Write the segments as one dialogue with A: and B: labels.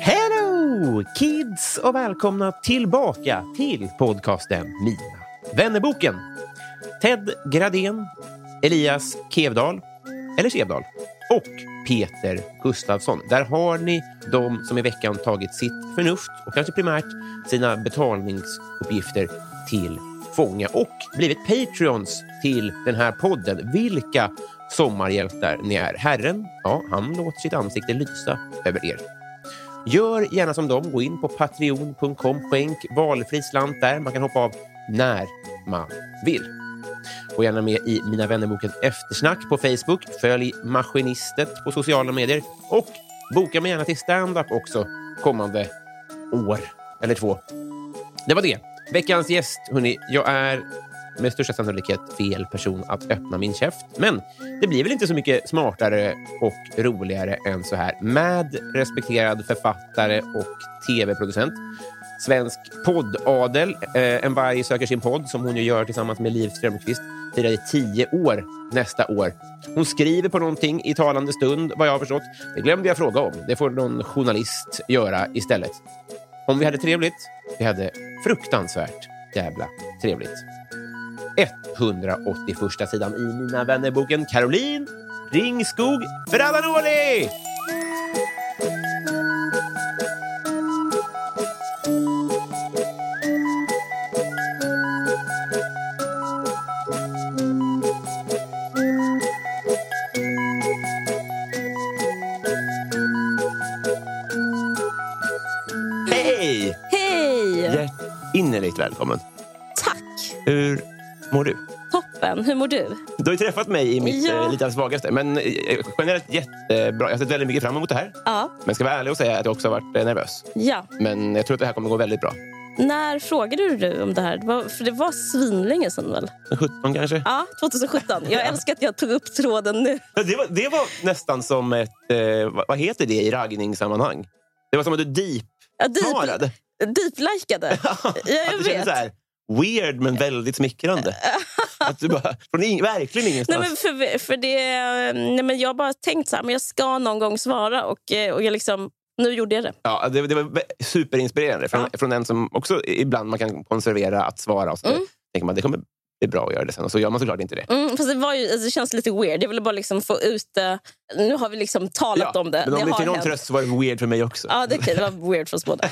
A: Hello kids och välkomna tillbaka till podcasten Mina vännerboken. Ted Gradén, Elias Kevdal, eller Sevdal, och Peter Gustafsson. Där har ni de som i veckan tagit sitt förnuft och kanske primärt sina betalningsuppgifter till fånga och blivit Patreons till den här podden. Vilka sommarhjältar ni är. Herren, ja, han låter sitt ansikte lysa över er. Gör gärna som dem. Gå in på patreon.com. Skänk valfri slant där. Man kan hoppa av när man vill. Gå gärna med i Mina vännerboken Eftersnack på Facebook. Följ Maskinistet på sociala medier. Och boka mig gärna till stand-up också kommande år eller två. Det var det. Veckans gäst, hörni. Jag är med största sannolikhet fel person att öppna min käft. Men det blir väl inte så mycket smartare och roligare än så här. Med respekterad författare och tv-producent. Svensk poddadel. Eh, en varg söker sin podd, som hon ju gör tillsammans med Liv Strömquist, firar i tio år nästa år. Hon skriver på någonting i talande stund, vad jag har förstått. Det glömde jag fråga om. Det får någon journalist göra istället. Om vi hade trevligt, vi hade fruktansvärt jävla trevligt. 181 sidan i Mina vännerboken Caroline Ringskog Ferrandanoli! Hej!
B: Hej!
A: Hjärt- Innerligt välkommen.
B: Tack!
A: Hur mår du?
B: Toppen. Hur mår du?
A: Du har ju träffat mig i mitt
B: Ja.
A: eh, lite svagaste, men eh, generellt jättebra. Jag har sett väldigt mycket fram emot det här.
B: Ja.
A: Men ska vara ärlig och säga att jag också har varit eh, nervös.
B: ja.
A: Men jag tror att det här kommer gå väldigt bra.
B: När frågade du om det här? Det var- För det var svinlänge sedan väl?
A: 17 kanske?
B: Ja, 2017. Jag älskar att jag tog upp tråden nu.
A: Det, var, det var nästan som ett... Eh, vad- vad heter det i raggningssammanhang? Det var som att du deep-parade.
B: Ja, deep, deep-likade. Ja, jag
A: att det kändes
B: vet.
A: så här, weird men väldigt smickrande. att du bara, från ing, verkligen
B: Nej,
A: ingenstans.
B: men för, för det, nej, men jag har bara tänkt så här, men jag ska någon gång svara. Och, eh, och jag liksom, nu gjorde jag det.
A: Ja, det, det var vä- superinspirerande från, från en som också ibland man kan konservera att svara. Och så tänker man det kommer bli bra att göra det sen och så gör man såklart inte det.
B: Mm, fast det, var ju, alltså, det känns lite weird. Jag ville bara liksom få ut det. Nu har vi liksom talat om det.
A: Men om det är
B: har
A: till någon
B: hänt.
A: tröst så var det weird för mig också.
B: Ja, det, det var weird för oss båda.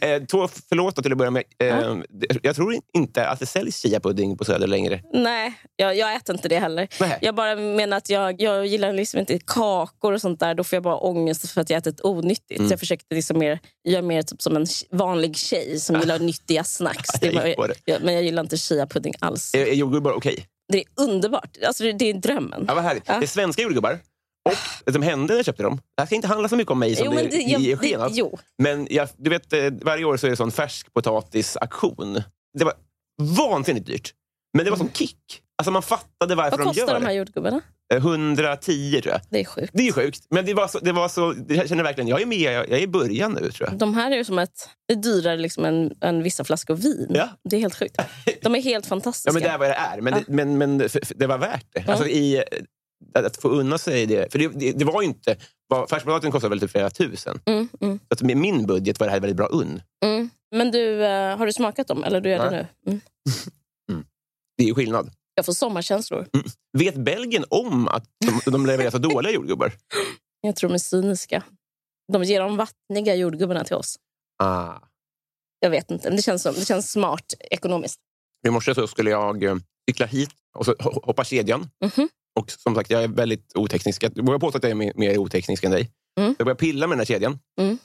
A: Eh, tå, förlåt då till att börja med. Eh, det- Jag tror inte att det säljs chia-pudding på Söder längre.
B: Nej, jag, jag äter inte det heller.
A: Nej.
B: Jag bara menar att jag, jag gillar liksom inte kakor och sånt där. Då får jag bara ångest för att jag ätit onyttigt.
A: Mm.
B: Så jag försökte liksom mer, jag är mer typ som en vanlig tjej som gillar nyttiga snacks. Det
A: Jag gick på
B: var,
A: det.
B: jag, men jag gillar inte chiapudding alls.
A: Är, är jordgubbar okej?
B: Det är underbart. Alltså, det, det är drömmen.
A: Ja, vad härligt.
B: Ja.
A: Det är svenska jordgubbar. Och det som hände när jag köpte dem. Det här ska inte handla så mycket om mig som alltså, det,
B: det-
A: jag, ger sken
B: det,
A: av.
B: jo.
A: Men jag, du vet, eh, varje år så är det sån färskpotatisaktion. Det var vansinnigt dyrt. Men det var som kick. Alltså man fattade varför
B: Mm. Vad
A: de
B: kostar
A: gör
B: de här jordgubbarna?
A: det. Eh, 110 tror jag.
B: Det är sjukt.
A: Det är ju sjukt. Men det var så, det var så, jag känner verkligen, jag är med, jag, jag är i början nu tror jag.
B: De här är ju som ett, det är dyrare liksom än, än vissa flaskor vin.
A: Ja.
B: Det är helt sjukt. De är helt fantastiska.
A: Ja, men det är vad det är. Men,
B: Ja.
A: det, men, men f- f- det var värt det. Alltså, i, eh, att, att få unna sig det. För det, det, det var ju inte... vad- Färskpotatisen kostade väl typ flera tusen.
B: Mm, mm.
A: Så att med min budget var det här väldigt bra unn.
B: Mm. Men du, eh, har du smakat dem? Eller du gör det nu? Mm.
A: Det är ju skillnad.
B: Jag får sommarkänslor.
A: Mm. Vet Belgien om att de, de levererar så dåliga jordgubbar?
B: Jag tror de är cyniska. De ger de vattniga jordgubbarna till oss.
A: Ah.
B: Jag vet inte. men Det känns, som, det känns smart ekonomiskt.
A: I morse så skulle jag eh, cykla hit och så ho- hoppa kedjan.
B: Mhm.
A: Och som sagt, jag är väldigt oteknisk. Jag vågar påstå att jag är mer- mer oteknisk än dig.
B: Mm.
A: Jag började pilla med den här kedjan
B: Mm.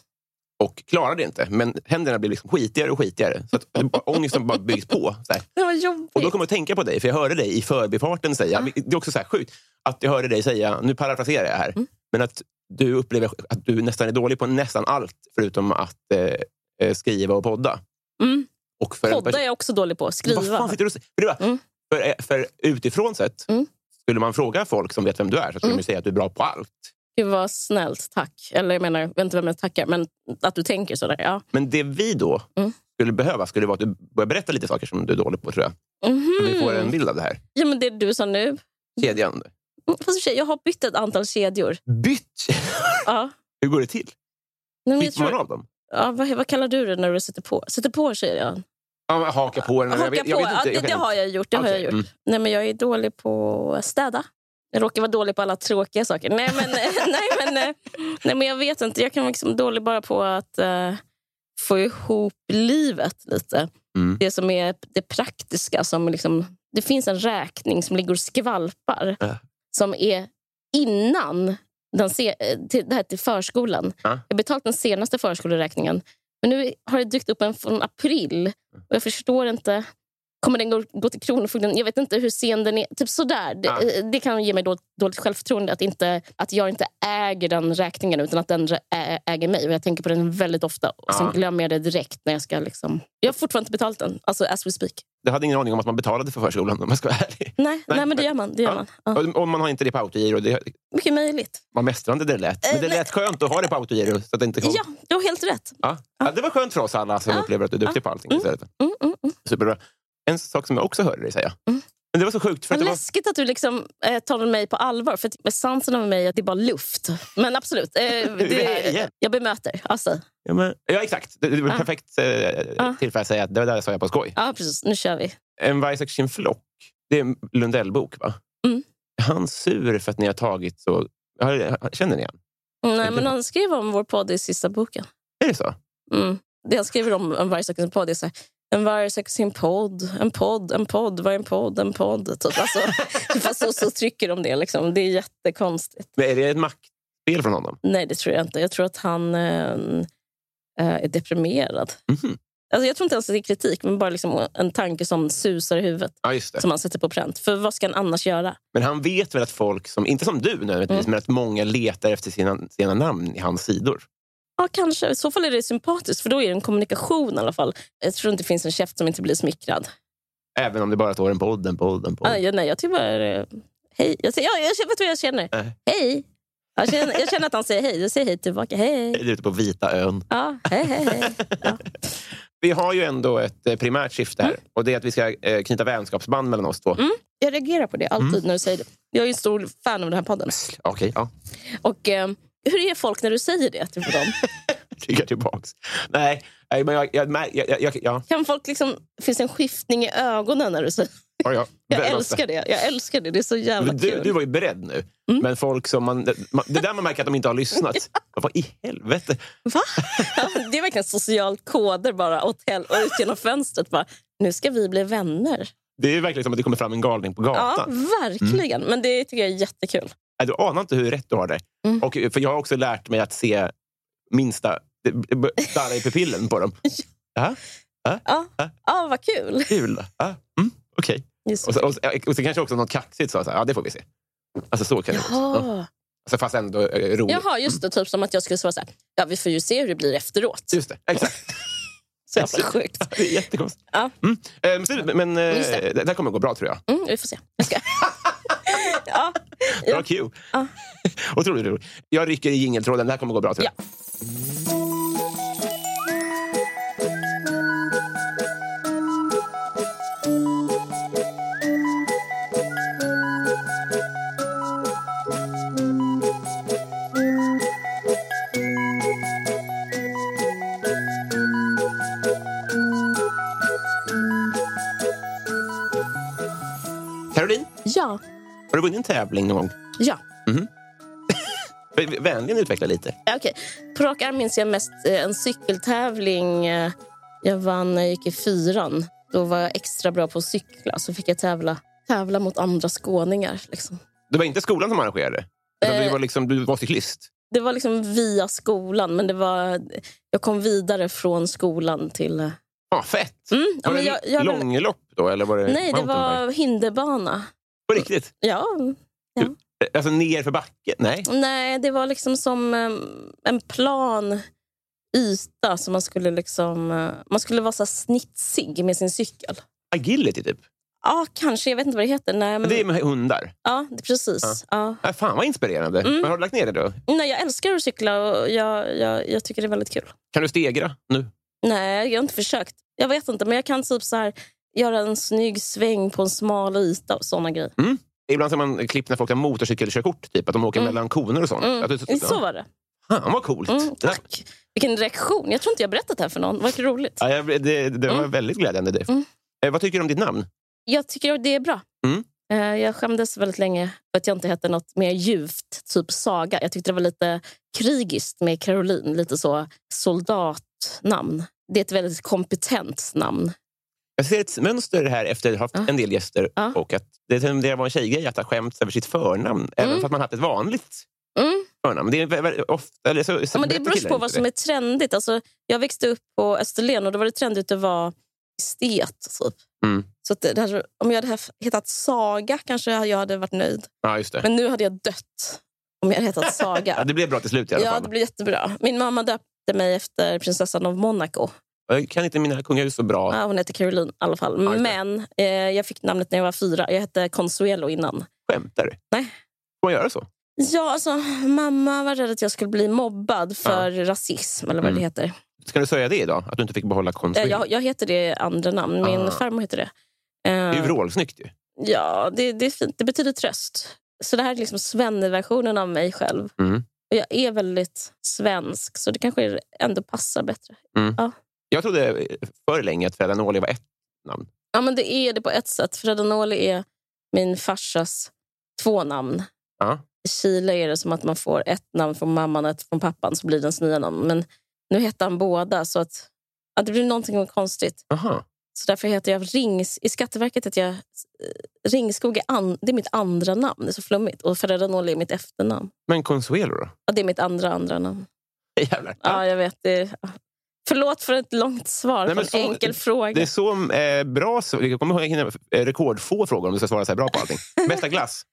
A: och klarade det inte. Men händerna blev liksom skitigare och skitigare. Så att bara- ångesten bara byggs på. Så här.
B: Det var
A: Och då
B: jobbigt.
A: kom jag att tänka på dig, för jag hörde dig i förbifarten säga... Det är också så här sjukt att jag hörde dig säga, nu parafraserar jag
B: Mm.
A: här, men att du upplever att du nästan är dålig på nästan allt förutom att eh, eh, skriva och podda.
B: Mm.
A: Och för en pers-
B: Podda är jag också dålig på.
A: Vad fan
B: Skriva.
A: sitter du och säger? För, det var-
B: Mm.
A: för, eh, för utifrån sett,
B: Mm.
A: skulle man fråga folk som vet vem du är så skulle de ju säga att du är bra på allt.
B: Gud vad snällt, tack. Eller jag menar, jag vet inte vem jag tackar, men att du tänker sådär. Ja.
A: Men det vi då
B: Mm.
A: skulle behöva skulle vara att du börjar berätta lite saker som du är dålig på, tror jag. Så vi får en
B: Mhm.
A: bild av det här.
B: ja, men det du sa nu. Mm,
A: Kedjan.
B: Fast i och för sig, jag har bytt ett antal kedjor.
A: Bytt!
B: Ja.
A: Hur går det till?
B: Nej, men jag
A: Byter man
B: tror,
A: av dem?
B: ja, vad, vad kallar du det när du sätter på? Sätter på kedjan?
A: Ja, men Haka på den? eller-
B: Haka
A: jag vet,
B: på.
A: jag vet
B: ja,
A: inte.
B: det,
A: jag kan
B: det har
A: inte.
B: jag gjort. Det har
A: Okej,
B: jag gjort.
A: mm.
B: Nej, men jag är dålig på att städa. Jag råkar vara dålig på alla tråkiga saker. Nej, men, nej, men, eh, nej, men jag vet inte. Jag kan vara liksom dålig bara på att eh, få ihop livet lite.
A: Mm.
B: Det som är det praktiska. Som liksom, det finns en räkning som ligger och skvalpar.
A: Äh.
B: Som är innan den se, eh, till, det här till förskolan.
A: Ja.
B: Jag har betalt den senaste förskoleräkningen. Men nu har det dykt upp en från april. Och jag förstår inte. Kommer den gå, gå till Kronofogden? Jag vet inte hur sen den är. Typ sådär. Det,
A: Ah.
B: eh, det kan ge mig då, dåligt självförtroende att, inte, att jag inte äger den räkningen utan att den rä- ä- äger mig. Och Jag tänker på den väldigt ofta och sen
A: Ah.
B: glömmer jag det direkt. när Jag ska liksom... Jag har fortfarande inte betalt den, alltså as we speak.
A: Jag hade ingen aning om att man betalade för förskolan, om jag ska vara ärlig.
B: Nej, nej, men det gör man. Det gör
A: Ja.
B: man. Ja.
A: Och- Och man har inte det på autogiro. Det
B: Mycket möjligt.
A: var mästrande det lät. Men
B: Eh,
A: det
B: nej.
A: lät skönt att ha det på autogiro. Så att det inte kom.
B: Ja, du har helt rätt.
A: Ja. Ja, det var skönt för oss alla som
B: Ja.
A: upplever att du är duktig på allting.
B: Mm.
A: Istället.
B: Mm, mm, mm.
A: Superbra. En sak som jag också hörde dig säga. Men det var så sjukt. För att
B: Vad
A: det var...
B: läskigt att du liksom, eh, tar mig på allvar. För att essensen av mig är att det är bara luft. Men absolut. Eh,
A: Vi är här igen.
B: det, jag bemöter. Alltså.
A: Ja, men... ja, exakt. Det, det var
B: Ja.
A: perfekt eh, tillfälle att säga att det där sa jag på skoj.
B: Ja, precis. Nu kör vi.
A: En varg söker sin flock. Det är en Lundell-bok, va?
B: Mm.
A: Är Han sur för att ni har tagit så... Ja, Känner ni han?
B: Nej,
A: Tänker
B: men
A: du?
B: han skrev om vår podd i sista boken.
A: Är det så?
B: Mm. Det han skriver om en varg söker sin podd är så här, en varg söker sin podd, en podd, en podd, vad är en podd, en podd? Typ. Alltså, fast så, så trycker de det. Liksom. Det är jättekonstigt.
A: Men är det ett maktspel från honom?
B: Nej, det tror jag inte. Jag tror att han eh, eh, är deprimerad.
A: Mhm.
B: Alltså, jag tror inte ens att det är kritik, men bara liksom en tanke som susar i huvudet.
A: Ja, just det.
B: Som han sätter på pränt. För vad ska han annars göra?
A: Men han vet väl att folk, som, inte som du nödvändigtvis,
B: Mm.
A: men att många letar efter sina, sina namn i hans sidor.
B: Ja, kanske. I så fall är det sympatiskt, för då är det en kommunikation i alla fall. Jag tror inte det finns en käft som inte blir smickrad.
A: Även om det bara står en podd, en podd, en podd.
B: Ah, ja, nej, jag tycker bara... eh, Hej. Jag, säger, ja, jag, känner- vet du vad jag känner?
A: Nej.
B: Hej! Jag känner, jag känner att han säger hej. Jag säger hej tillbaka. Hej!
A: Är det ute på Vita ön?
B: Ja, hej, hej, hej.
A: Vi har ju ändå ett eh, primärt syfte här.
B: Mm.
A: Och det är att vi ska eh, knyta vänskapsband mellan oss två.
B: Jag reagerar på det alltid
A: Mm.
B: när du säger det. Jag är ju en stor fan av den här podden.
A: Okej, ja.
B: Och, eh, hur är folk när du säger det till dem?
A: Ryggar tillbaks. Nej, nej, men jag... jag, jag, jag, jag ja,
B: Kan folk liksom, finns det en skiftning i ögonen när du säger
A: ja, ja.
B: Jag
A: Väldigt ofta.
B: älskar det. Jag älskar det. Mm. Det är så jävla
A: Du,
B: kul.
A: du var ju beredd nu. Men folk som man, man... Det är där man märker att de inte har lyssnat. Vad i helvete?
B: Va? Ja, Det är verkligen socialt koder bara. Åt hel- och ut genom fönstret bara. Nu ska vi bli vänner.
A: Det är verkligen som att det kommer fram en galning på gatan.
B: Ja, verkligen. Men det tycker jag är jättekul.
A: Nej, Du anar inte hur rätt du har där.
B: Mm.
A: Och, för jag har också lärt mig att se minsta darra i pupillen på dem. Ja,
B: Ja, ja vad kul.
A: kul. Ja, mm, Okej.
B: Just
A: Och, så- och, så- och sen kanske också något kaxigt sa så här, ja det får vi se. Alltså så kan det vara. Ja.
B: Jaha.
A: Alltså, fast ändå eh, roligt.
B: Jaha, just det. Typ som att jag skulle svara så här. Ja, vi får ju se hur det blir efteråt.
A: Just det, exakt.
B: Så jävla sjukt.
A: Det är jättekonstigt.
B: Ja.
A: Mm. Eh, men så- Men eh,
B: Just det.
A: det. här kommer gå bra tror jag.
B: Mm, vi får se. Jag ska. Ja,
A: Bra cue.
B: Ja.
A: Otroligt roligt. Jag rycker i jingeltråden, det här kommer gå bra tror jag.
B: Ja.
A: Caroline,
B: Ja.
A: har du vunnit en tävling någon gång?
B: Ja.
A: V- Vänligen utveckla lite.
B: Ja, Okej. På rak arm minns jag mest eh, en cykeltävling eh, jag vann när jag gick i fyran. Då var jag extra bra på att cykla, så fick jag tävla, tävla mot andra skåningar. Liksom.
A: Det var inte skolan som arrangerade? Utan
B: Eh.
A: du, var liksom, du var cyklist?
B: Det var liksom via skolan, men det var, jag kom vidare från skolan till... eh,
A: Ah, fett!
B: Mm, ja,
A: var
B: men
A: det
B: jag, jag,
A: långlopp då? Eller var det
B: nej, det
A: mountainbike?
B: var hinderbana.
A: På riktigt?
B: Ja,
A: Alltså ner för backen? Nej.
B: nej, det var liksom som eh, en plan yta. Så man, skulle liksom, eh, man skulle vara så här snitsig med sin cykel.
A: Agility, typ?
B: Ja, kanske. Jag vet inte vad det heter. Nej, men,
A: Det är med hundar.
B: Ja, det, precis. Ja.
A: Ah, fan, vad inspirerande.
B: Mm.
A: Men Har du lagt ner det då?
B: Nej, jag älskar att cykla och jag, jag, jag tycker det är väldigt kul.
A: Kan du stegra nu?
B: Nej, jag har inte försökt. Jag vet inte, men jag kan typ så här, göra en snygg sväng på en smal yta och sådana grejer.
A: Ibland ser man klipp när folk har motorcykelkörkort, typ, att de åker
B: Mm.
A: mellan koner och sånt.
B: Mm.
A: Att du,
B: Så var det.
A: Fan, vad coolt!
B: Mm,
A: Det där-
B: tack. Vilken reaktion. Jag tror inte jag berättat det här för någon. Vad roligt.
A: Ja, jag, det, det var väldigt glädjande. Det.
B: Mm.
A: Eh, vad tycker du om ditt namn?
B: Jag tycker att det är bra.
A: Mm.
B: Eh, Jag skämdes väldigt länge för att jag inte hette något mer ljuvt, typ Saga. Jag tyckte det var lite krigiskt med Caroline. Lite så soldatnamn. Det är ett väldigt kompetent namn.
A: Jag ser ett mönster här efter att ha haft
B: Ja.
A: en del gäster.
B: Ja.
A: Och att det tenderar att vara en tjejgrej att ha skämts över sitt förnamn. Även
B: Mm.
A: för att man haft ett vanligt
B: Mm.
A: förnamn. Det, är vä- vä- ofta, eller så, så
B: Ja, men det
A: berättar
B: beror
A: killar
B: på
A: inte
B: vad som
A: det.
B: är trendigt. Alltså, jag växte upp på Österlen och då var det trendigt att vara estet. Typ.
A: Mm.
B: Så att det, det här, om jag hade hef- hetat Saga kanske jag hade varit nöjd.
A: Ja, just det.
B: Men nu hade jag dött om jag hade hetat
A: Ja,
B: Saga.
A: det blev bra till slut i alla
B: ja,
A: fall.
B: det blev jättebra. Min mamma döpte mig efter prinsessan av Monaco.
A: Jag kan inte mina kungahus så bra.
B: Ja, hon heter Caroline i alla fall.
A: Ja, just det.
B: Men eh, jag fick namnet när jag var fyra. Jag hette Consuelo innan.
A: Skämtar du?
B: Nej.
A: Får man göra så?
B: Ja, alltså, mamma var rädd att jag skulle bli mobbad för rasism eller vad
A: Mm.
B: det heter.
A: Ska du säga det idag? Att du inte fick behålla
B: Eh,
A: konstnären?
B: Jag, jag heter det i andra namn. Min
A: Ah.
B: farmor heter det.
A: Det är ju
B: Eh,
A: vrålsnyggt ju.
B: ja, det, det är fint. Det betyder tröst. Så det här är liksom Svenne-versionen av mig själv.
A: Mm.
B: Och jag är väldigt svensk, så det kanske ändå passar bättre.
A: Jag trodde för länge att Fred Anoli var ett namn.
B: Ja, men det är det på ett sätt. Fred Noli är min farsas två namn.
A: Ja.
B: I Chile är det som att man får ett namn från mamman och ett från pappan, så blir det ens nya namn. Men nu heter han båda, så att, att det blir någonting konstigt.
A: Aha.
B: Så därför heter jag Rings... I Skatteverket heter jag... eh, Ringskog är, an, det är mitt andra namn. Det är så flummigt. Och Ferraranoli är mitt efternamn.
A: Men Consuelo då?
B: Ja, det är mitt andra andra namn.
A: Jävlar.
B: Ja, jag vet. Det är, ja. Förlåt för ett långt svar
A: Nej,
B: på
A: men
B: en
A: så-
B: enkel fråga.
A: Det är så eh, bra... sv- Jag kommer hinna eh, rekordfå frågor om du ska svara så här bra på allting. Bästa glass?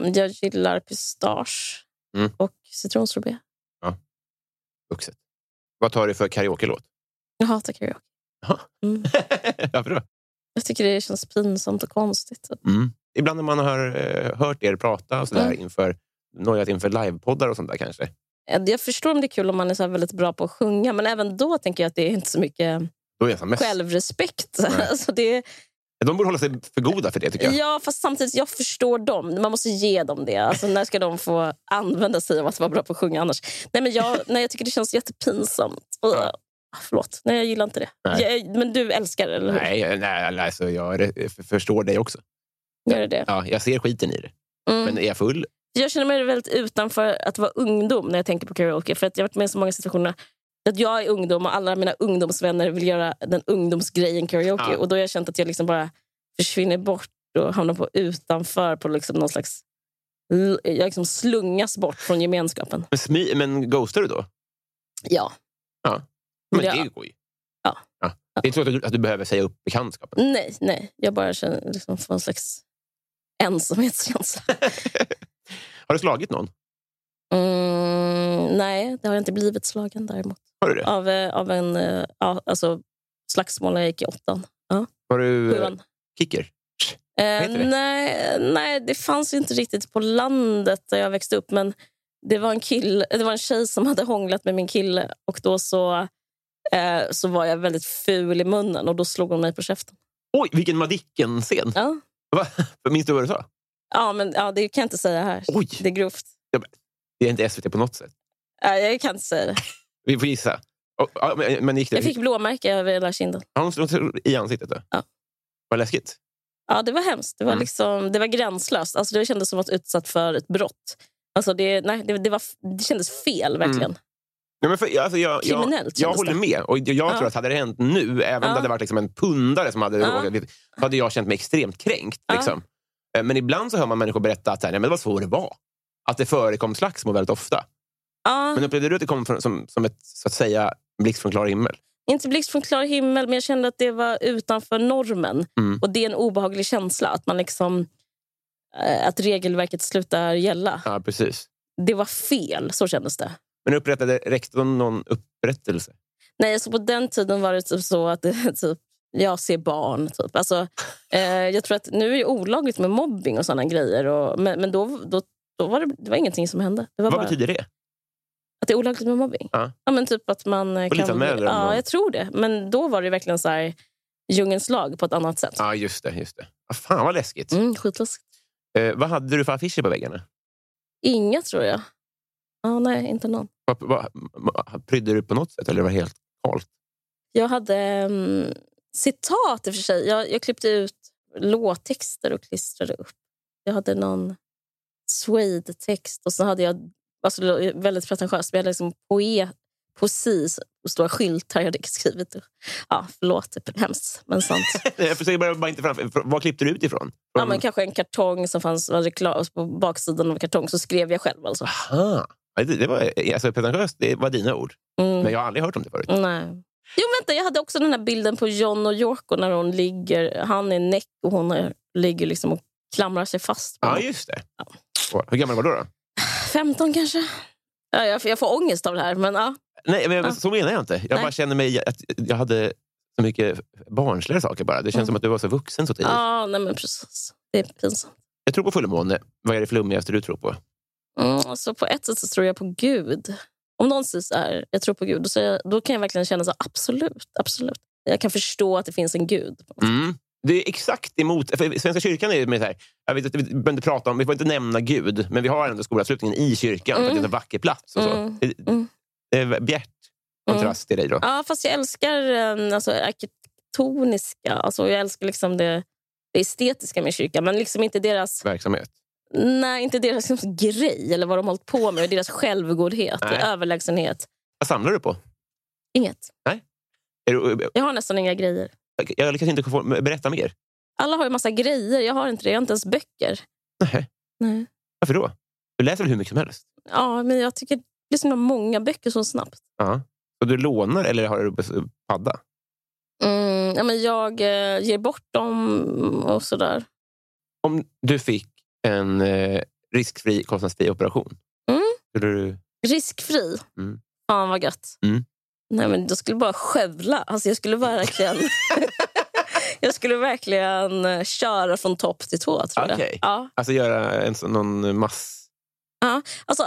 B: Jag gillar pistage
A: Mm.
B: och citronsorbet.
A: Vuxet. Vad tar du för karaoke-låt?
B: Jag hatar karaoke.
A: Jaha.
B: Mm.
A: Varför då?
B: Jag tycker det känns pinsamt och konstigt.
A: Ibland när man har eh, hört er prata och så där
B: Mm.
A: inför nojat inför livepoddar och sånt där kanske.
B: Eh, Jag förstår om det är kul om man är så här väldigt bra på att sjunga, men även då tänker jag att det är inte så mycket
A: Då är jag som mest.
B: självrespekt.
A: Nej.
B: Alltså det är,
A: De borde hålla sig för goda för det tycker jag.
B: Ja, fast samtidigt, jag förstår dem. Man måste ge dem det. Alltså, när ska de få använda sig av att vara bra på att sjunga annars? Nej, men jag, nej, jag tycker det känns jättepinsamt.
A: Ja.
B: Ah, Förlåt, nej, jag gillar inte det.
A: Nej.
B: Jag, men du älskar det, eller hur?
A: Nej, jag- nej alltså, jag re- f- förstår dig också.
B: Gör du det?
A: Ja, jag ser skiten i det.
B: Mm.
A: Men är jag full?
B: Jag känner mig väldigt utanför att vara ungdom när jag tänker på karaoke. För att Jag har varit med i så många situationer att jag är ungdom och alla mina ungdomsvänner vill göra den ungdomsgrejen karaoke.
A: Ja.
B: Och Då har jag känt att jag liksom bara försvinner bort och hamnar på utanför på liksom någon slags... l- Jag liksom slungas bort från gemenskapen.
A: Men, smy, men ghostar du då?
B: Ja.
A: Men
B: Ja.
A: det går ju.
B: Ja.
A: Det är inte så att du, att du behöver säga upp bekantskapen.
B: Nej, nej. Jag bara känner liksom får en slags ensamhetskänsla.
A: Har du slagit någon?
B: Mm, nej, det har jag inte blivit slagen däremot.
A: Har du det?
B: Av, eh, av en eh, ja, alltså, slagsmål när jag gick i åttan.
A: Har du eh,
B: Sjuan.
A: kicker?
B: Eh,
A: heter det?
B: nej, nej, det fanns ju inte riktigt på landet där jag växte upp. Men det var en, kille, det var en tjej som hade hånglat med min kille och då så, eh, så var jag väldigt ful i munnen och då slog hon mig på käften.
A: Oj, vilken Madicken-scen!
B: Ja,
A: Va? Minns du vad du sa?
B: ja men ja, det kan jag inte säga här.
A: Oj,
B: Det är grovt.
A: det är inte SVT på något sätt.
B: Nej, jag kan inte säga det.
A: Vi får gissa. Och, ja, men, men gick det?
B: Jag fick blåmärke över hela kinden.
A: Ja, hon slog i ansiktet? Då.
B: Ja.
A: Vad läskigt.
B: Ja, det var hemskt. Det
A: Mm.
B: var, liksom, det var gränslöst. Alltså, det kändes som att vara utsatt för ett brott. Alltså, det, nej, det, det, var, det kändes fel,
A: Mm.
B: verkligen.
A: Nej, men för, alltså, jag, jag,
B: Kriminellt
A: jag
B: kändes
A: håller
B: det.
A: med. Och jag
B: Ja.
A: tror att hade det hänt nu, även om
B: Ja.
A: det hade varit liksom en pundare som hade
B: Ja.
A: råkat, så hade jag känt mig extremt kränkt.
B: Ja.
A: Liksom. Eh, Men ibland så hör man människor berätta att så här, nej, men det var så det var. Att det förekom slagsmål väldigt ofta.
B: Ja,
A: Men upplevde du att det kom från, som, som ett, så att säga, blixt från klar himmel?
B: Inte blixt från klar himmel, men jag kände att det var utanför normen.
A: Mm.
B: Och Det är en obehaglig känsla, att, man liksom, eh, att regelverket slutar gälla.
A: Ja, precis.
B: Det var fel, så kändes det.
A: Men upprättade rektorn någon upprättelse?
B: Nej, alltså på den tiden var det typ så att typ, jag ser barn. Typ. Alltså, eh, jag tror att nu är det olagligt med mobbing och såna grejer. Och, men men då, då, då var det, det var ingenting som hände. Det var
A: Vad
B: bara
A: betyder det?
B: att det är olagligt med mobbing.
A: Ja.
B: men typ att man eh, kan...
A: Polisanmäler den då?
B: Ja, jag tror det. Men då var det verkligen så här, djungelns lag på ett annat sätt.
A: Ja, just det. Just det. Ah, fan vad läskigt.
B: Mm, skitläskigt.
A: Eh, vad hade du för affischer på väggarna?
B: Inga, tror jag. Ja, nej, inte någon.
A: Vad, vad, prydde du på något sätt eller var det helt halt?
B: Jag hade mm, citat i och för sig. Jag, jag klippte ut låttexter och klistrade upp. Jag hade någon suede-text och så hade jag, alltså det lå- väldigt pretentiöst, men jag hade liksom poe, poesi och stora skyltar jag hade skrivit. Ja, förlåt, det är hemskt, men sant.
A: Nej, Jag försöker bara, bara inte framför. Vad klippte du ut ifrån?
B: Ja, men kanske en kartong som fanns var reklam, på baksidan av en kartong, så skrev jag själv. Alltså.
A: Aha. Ja, Det, det var alltså, pretentiöst, det var dina ord.
B: Mm.
A: Men jag har aldrig hört om det förut.
B: Nej. Jo, vänta, jag hade också den här bilden på John och Yoko när hon ligger, han är näck och hon är, ligger liksom och klamrar sig fast. På
A: Ja,
B: honom.
A: just det. Åh, Hur gammal var du då?
B: 15 kanske? Ja, jag, jag får ångest av det här. Men, ja.
A: Nej, men
B: Ja.
A: så menar jag inte. Jag
B: Nej.
A: bara känner mig att jag hade så mycket barnsligare saker bara. Det känns
B: Mm.
A: som att du var så vuxen så tidigt.
B: Ja, nej, men precis. Det är pinsamt.
A: Jag tror på fullmåne. Vad är det flummigaste du tror på?
B: Mm, alltså, på ett sätt så tror jag på Gud. Om någon säger så här, jag tror på Gud, då, säger jag, då kan jag verkligen känna så här, absolut, absolut. Jag kan förstå att det finns en gud.
A: Mm. Det är exakt emot... För Svenska kyrkan är ju med så här... Jag vet, inte, vi behöver inte prata om... Vi får inte nämna Gud, men vi har ändå skolavslutningen i kyrkan för att det är en så vacker plats. Och så.
B: Mm.
A: Det,
B: Mm.
A: det är bjärt kontrast till dig då.
B: Ja, fast jag älskar eh, alltså, arkitektoniska. Alltså, jag älskar liksom det, det estetiska med kyrkan. Men liksom inte deras,
A: Verksamhet.
B: nej, inte deras liksom, grej eller vad de hållit på med. Deras självgodhet och
A: Nej.
B: överlägsenhet.
A: Vad samlar du på?
B: Inget.
A: Är du,
B: Jag har nästan inga grejer.
A: jag lyckas inte få, berätta mer.
B: Alla har ju massa grejer. Jag har inte det. Jag har inte ens böcker.
A: Nej.
B: Nej.
A: Varför då? Du läser väl hur mycket som helst?
B: Ja, men jag tycker det blir så himla många böcker så snabbt.
A: Ja. Så du lånar eller har du på padda?
B: Mm, ja, men jag eh, ger bort dem och sådär.
A: Om du fick en eh, riskfri, kostnadsfri operation,
B: Mm.
A: skulle du...
B: Riskfri.
A: Mm.
B: Fan vad gött.
A: Mm.
B: Nej, men jag skulle bara skövla. Alltså, jag skulle verkligen... jag skulle verkligen eh, köra från topp till tå, tror jag.
A: Okej.
B: Ja.
A: Alltså göra en, sån- någon mass...
B: Alltså,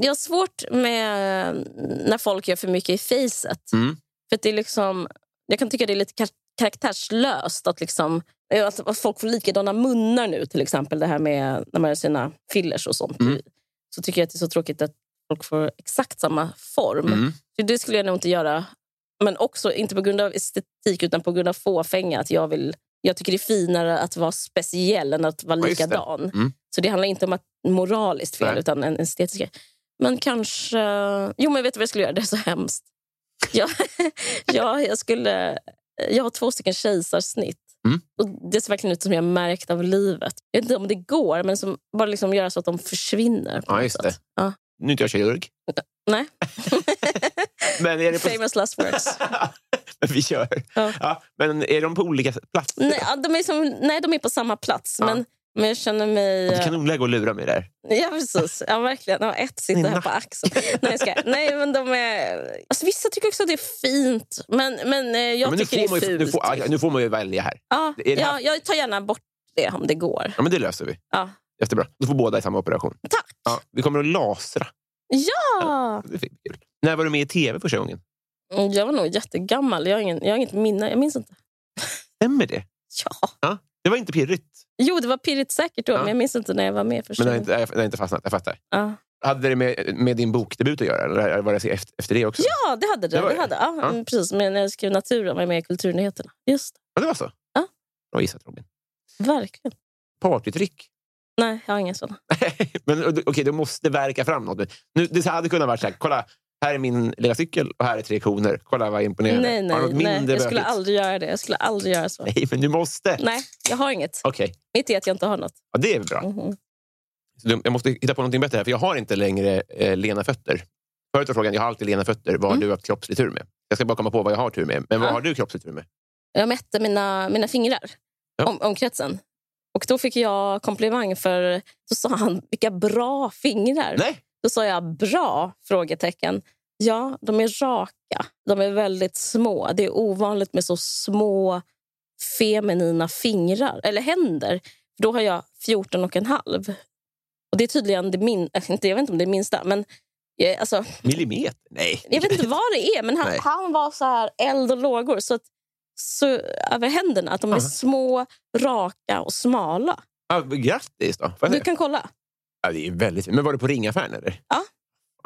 B: jag har svårt med mm, när folk gör för mycket i facet.
A: Mm.
B: För att det är liksom, jag kan tycka det är lite kar- karaktärslöst att, liksom, att att folk får likadana munnar nu. Till exempel det här med när man gör sina fillers och sånt.
A: Mm.
B: Så tycker jag att det är så tråkigt att folk får exakt samma form.
A: Mm.
B: Så det skulle jag nog inte göra. Men också inte på grund av estetik utan på grund av fåfänga. Att jag, vill, jag tycker det är finare att vara speciell än att vara
A: Ja, just det.
B: likadan.
A: Mm.
B: Så det handlar inte om att moraliskt fel
A: Nej.
B: utan en estetisk grej. Men kanske... Jo, men vet du vad jag skulle göra? Det är så hemskt. Jag, jag, jag, skulle, jag har två stycken kejsarsnitt.
A: Mm.
B: Och det ser verkligen ut som jag har märkt av livet. Jag vet inte om det går, men som bara liksom göra så att de försvinner. på
A: Ja,
B: något
A: just
B: sätt.
A: det.
B: Ja.
A: Nu är inte jag kirurg.
B: Nej.
A: Men är det på...
B: Famous last words.
A: men vi kör.
B: Ja.
A: Ja, men är de på olika platser?
B: Nej, ja, de är, som, nej, de är på samma plats.
A: Ja.
B: Men, men jag känner mig... eh,
A: Det kan nog gå och lura mig där.
B: Ja, precis. Ja, verkligen. Ja, ett sitter här på axeln. Nej, jag skojar. nej, men de är... Alltså, vissa tycker också att det är fint, men, men eh, jag
A: men nu,
B: tycker
A: får man
B: det är
A: ju,
B: fult.
A: nu, får, ah, ja, nu får man ju välja här.
B: ja,
A: är det här-
B: ja, jag tar gärna bort det om det går.
A: Ja, men det löser vi.
B: Ja.
A: Jättebra. Då får båda i samma operation.
B: Tack!
A: Ja, vi kommer att lasra.
B: Ja.
A: Det är kul. När var du med i tv första gången?
B: Mm, Jag var nog jättegammal. Jag har, ingen, jag har inget minne. Jag minns inte.
A: Stämmer det?
B: Ja.
A: Det var inte pirrigt.
B: Jo, det var pirrigt säkert då,
A: Ja.
B: men jag minns inte när jag var med första
A: Men det har
B: gången.
A: inte, jag har inte fastnat. Jag fattar.
B: Ja.
A: Hade det med, med din bokdebut att göra? Eller var det efter, efter det också?
B: ja, det hade det.
A: Det var
B: det
A: det.
B: hade. Ja,
A: Ja.
B: mm, Precis, men när jag skrev Naturen var jag med i Kulturnyheterna. Just det.
A: Ja, det var så?
B: Ja.
A: Bra gissat, Robin.
B: Verkligen.
A: Partytryck.
B: Nej, jag har inga sådana.
A: Men okej, du måste verka fram något. Nu, det hade kunnat vara så här, kolla, här är min lilla cykel och här är tre koner. Kolla vad imponerande.
B: Nej,
A: Har du
B: nej,
A: något
B: nej.
A: mindre
B: Jag skulle
A: bökigt?
B: aldrig göra det. Jag skulle aldrig göra så.
A: Nej, men du måste.
B: Nej, jag har inget.
A: Okej,
B: Mitt är att jag inte har något.
A: ja, det är väl bra.
B: Mhm.
A: Så du- Jag måste hitta på någonting bättre här, för jag har inte längre eh, lena fötter. Förut var frågan, jag har alltid lena fötter, vad har du haft kroppslig tur med? Jag ska bara komma på vad jag har tur med. Men vad
B: Mm. Ja.
A: har du kroppslig tur med?
B: Jag mätte mina, mina fingrar,
A: Ja.
B: om, omkretsen. Och då fick jag komplimang för... Då sa han, vilka bra fingrar.
A: Nej!
B: Då sa jag bra? frågetecken. Ja, de är raka. De är väldigt små. Det är ovanligt med så små feminina fingrar, eller händer. Då har jag 14 och en halv. Och det är tydligen det min, äh, inte- jag vet inte om det är minsta, men jag, alltså,
A: Millimeter? Nej.
B: jag vet inte vad det är. Men han,
A: Nej.
B: han var så här eld och lågor så att, så, över händerna. Att de är
A: Aha.
B: små, raka och smala.
A: Ja, grattis då. Får jag
B: Du
A: se?
B: kan kolla.
A: Ja, det är väldigt fint. Men var du på ringaffären eller?
B: Ja.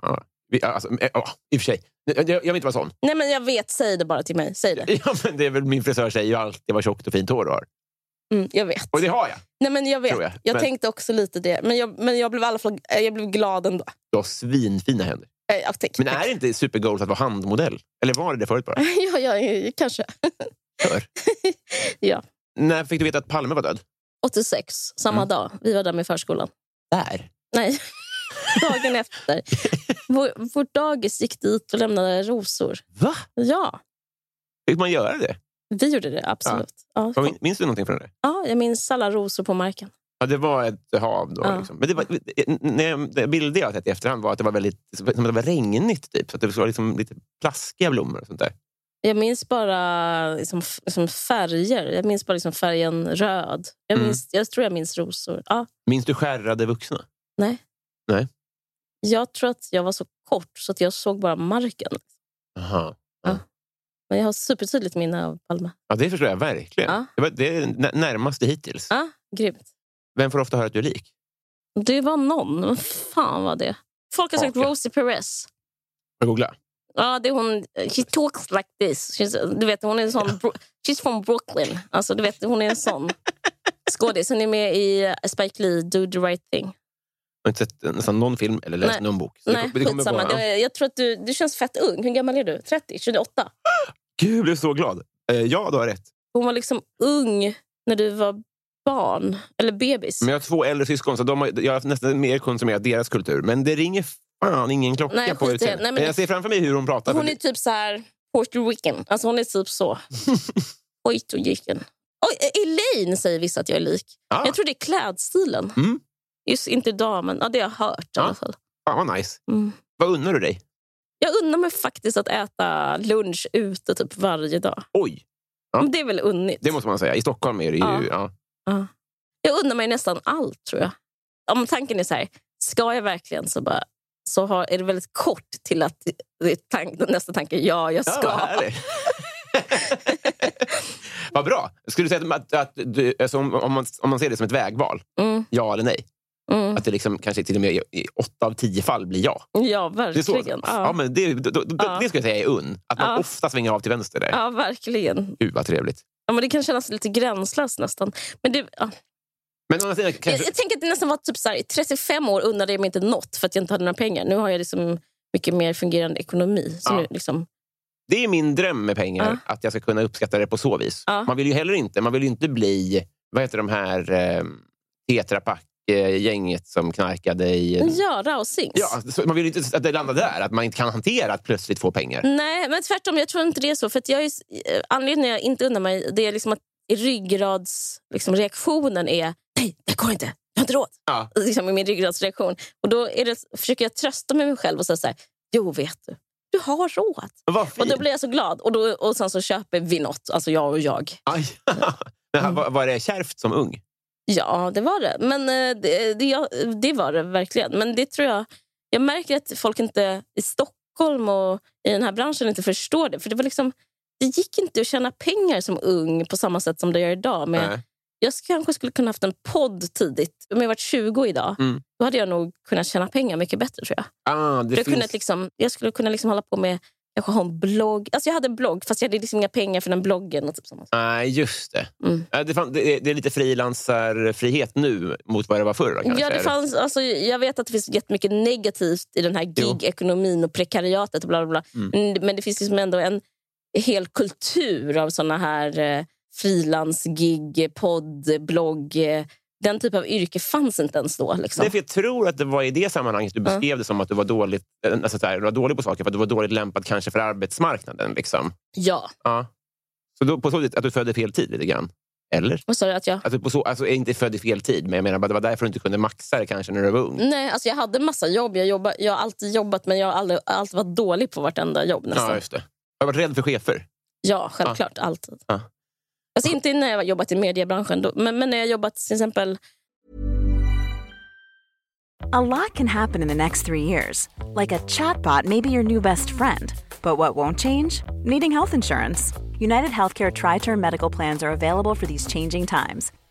A: ja. Vi- Alltså, eh, ja, I och för sig, jag, jag vill inte vara sån.
B: Nej, men jag vet. Säg det bara till mig. Säg det.
A: Ja, men det är väl min frisör säger ju alltid vad tjockt och fint hår du har.
B: Mm, jag vet.
A: Och det har jag.
B: Nej, men jag vet.
A: Tror jag.
B: Jag,
A: Men-
B: tänkte också lite det. Men jag, men jag blev i alla fall eh, jag blev glad ändå.
A: Du har svinfina händer.
B: Eh, ja, tack,
A: Men
B: tack.
A: är det inte supergoals att vara handmodell? Eller var det det förut bara?
B: ja, ja, ja, kanske.
A: Kör.
B: Ja.
A: När fick du veta att Palme var död?
B: 86, samma
A: Mm.
B: dag. Vi var där med förskolan.
A: Där.
B: Nej, dagen efter. Vår, vår dagis gick dit och lämnade rosor.
A: Va?
B: Ja,
A: Fick man göra det?
B: vi gjorde det. Absolut. Ja.
A: Vad min- Minns du någonting från det?
B: Ja, jag minns alla rosor på marken.
A: Ja, det var ett hav då.
B: Ja.
A: Liksom. Men det, var, när jag, det bilder jag har sett i efterhand var att det var väldigt som att det var regnigt. Typ. Så att det var liksom lite plaskiga blommor och sånt där.
B: Jag minns bara liksom, f- liksom färger. Jag minns bara liksom färgen röd. Jag,
A: Mm.
B: minns, jag tror jag minns rosor. Ja.
A: Minns du skärrade vuxna?
B: Jag tror att jag var så kort så att jag såg bara marken.
A: Aha.
B: Men jag har supertydligt minne av Palme.
A: Ja, det förstår jag verkligen.
B: Ja.
A: Det, var, det är det närmaste hittills.
B: Ja, grymt.
A: Vem får ofta höra att du är lik?
B: Det var någon. Vad fan var det? Folk har sagt
A: Kaka.
B: Rosie Perez.
A: Får jag googla?
B: Ja, det är hon. She talks like this. She's, du vet, hon är en sån... Bro- She's from Brooklyn. Alltså, du vet, hon är en sån skådis. Hon är med i eh, Spike Lee, Do the right thing.
A: Jag har inte sett nästan någon film eller läst
B: Nej.
A: någon bok. Så
B: Nej,
A: det, det kommer
B: skitsamma.
A: vara-
B: Jag, jag tror att du, du känns fett ung. Hur gammal är du? 30? 28?
A: Gud, jag blev så glad. Eh, ja, du har rätt.
B: Hon var liksom ung när du var barn. Eller bebis.
A: Men jag har två äldre syskon, så de har, jag har nästan mer konsumerat deras kultur. Men det ringer fan ingen klocka
B: Nej,
A: på
B: skit i
A: utseendet.
B: det. Nej, men-
A: men jag ser framför mig hur hon pratar.
B: Hon
A: för
B: är typ så här Puerto Rican. Alltså hon är typ så. Puerto Rican. Oj, eh, Elaine säger vissa att jag är lik.
A: ah,
B: Jag tror det är klädstilen.
A: Mm. Ah.
B: Just inte damen. Ja, det har jag hört i
A: Ja.
B: alla fall.
A: Fan vad nice.
B: Mm.
A: Vad unnar du dig?
B: Jag undrar mig faktiskt att äta lunch ute typ varje dag.
A: Oj, Ja.
B: Men det är väl unnigt.
A: Ah. det måste man säga. I Stockholm är det ju... Ja.
B: Ja. Jag undrar mig nästan allt tror jag. Om tanken är så här, ska jag verkligen så bara så har, är det väldigt kort till att det är tank, nästa tanke ja, jag
A: Ja,
B: ska.
A: vad härligt. vad bra. Skulle du säga att, att du, alltså om, om, man, om man ser det som ett vägval,
B: mm,
A: ja eller nej?
B: mm.
A: Att det liksom, kanske till och med i i åtta av tio fall blir ja.
B: Ja,
A: Det, är så.
B: verkligen.
A: Ja, men det, då, då, då-
B: Ja.
A: det skulle jag säga är unn. Att man
B: Ja.
A: ofta svänger av till vänster där.
B: Ja, verkligen.
A: Gud vad trevligt.
B: Ja, men det kan kännas lite gränslöst nästan. Men det, ja.
A: Men å andra sidan,
B: jag,
A: kanske,
B: jag tänker att det nästan var typ så här, i 35 år unnade jag mig inte något för att jag inte hade några pengar. Nu har jag liksom mycket mer fungerande ekonomi. Som
A: Ja.
B: är liksom,
A: det är min dröm med pengar, att jag ska kunna uppskatta det på så vis.
B: Ja.
A: Man vill ju heller inte, man vill ju inte bli, vad heter de här eh, Tetra Pak-gänget som knarkade i... en-
B: ja, rausings.
A: Ja, alltså- så man vill ju inte att det landar där, att man inte kan hantera att plötsligt få pengar.
B: Nej, men tvärtom. Jag tror inte det är så. För att jag är, s- eh, anledningen jag inte undrar mig det är liksom att ryggradsreaktionen liksom, reaktionen är nej, det går inte. Jag har inte råd.
A: Ja.
B: Liksom, i min ryggradsreaktion. Och då är det, försöker jag trösta mig själv och säga så här, jo, vet du. Du har råd.
A: Vad
B: Och
A: fint!
B: då blir jag så glad. Och, då, och sen så köper vi något, alltså jag och jag.
A: Aj. Men
B: Mm.
A: här, var, var det kärvt som ung?
B: Ja, det var det. Men eh, det, det, ja, det var det verkligen. Men det tror jag... Jag märker att folk inte i Stockholm och i den här branschen inte förstår det. För det var liksom... Det gick inte att tjäna pengar som ung på samma sätt som det gör idag. Men
A: Nej.
B: jag sk- kanske skulle kunna haft en podd tidigt. Om jag varit 20 idag,
A: Mm.
B: då hade jag nog kunnat tjäna pengar mycket bättre tror jag.
A: Ah, det
B: jag,
A: finns...
B: kunnat liksom, jag skulle kunna liksom hålla på med Kanske ha en blogg. Alltså jag hade en blogg, fast jag hade liksom inga pengar för den bloggen. Och typ sånt.
A: Nej, just det.
B: Mm.
A: Ja, Det, fan, det, det är lite frilansarfrihet nu mot vad det var förr. då, Kanske.
B: Ja, det fanns, alltså, jag vet att det finns jättemycket negativt i den här
A: Jo. Mm.
B: gigekonomin och prekariatet. Och bla, bla, bla. Men, men det finns liksom ändå en hel kultur av såna här eh, frilansgig, podd, blogg. Eh, den typen av yrke fanns inte ens då. Liksom.
A: Nej, för jag tror att det var i det sammanhanget du
B: Ja.
A: beskrev det som att du var, dåligt, eh, alltså, så här, du var dålig på saker för att du var dåligt lämpad kanske för arbetsmarknaden. Liksom.
B: Ja,
A: Ja. Så då, på så sätt att du födde fel tid lite grann? Eller?
B: vad sa du att jag...
A: Att du på så, alltså, är inte född i fel tid, men jag menar bara det var därför du inte kunde maxa det kanske när du var ung.
B: Nej, alltså jag hade massa jobb. Jag, jobba, jag har alltid jobbat, men jag har aldrig, alltid varit dålig på vartenda jobb. Nästan.
A: Ja, just det. Har du varit rädd för chefer?
B: Ja, självklart. Alltid.
A: Ja.
B: Alltså inte när jag har jobbat i mediebranschen, då, men, men när jag har jobbat till exempel
C: A lot can happen in the next three years. Like a chatbot may be your new best friend. But what won't change? Needing health insurance. United Healthcare Tri Term Medical Plans are available for these changing times.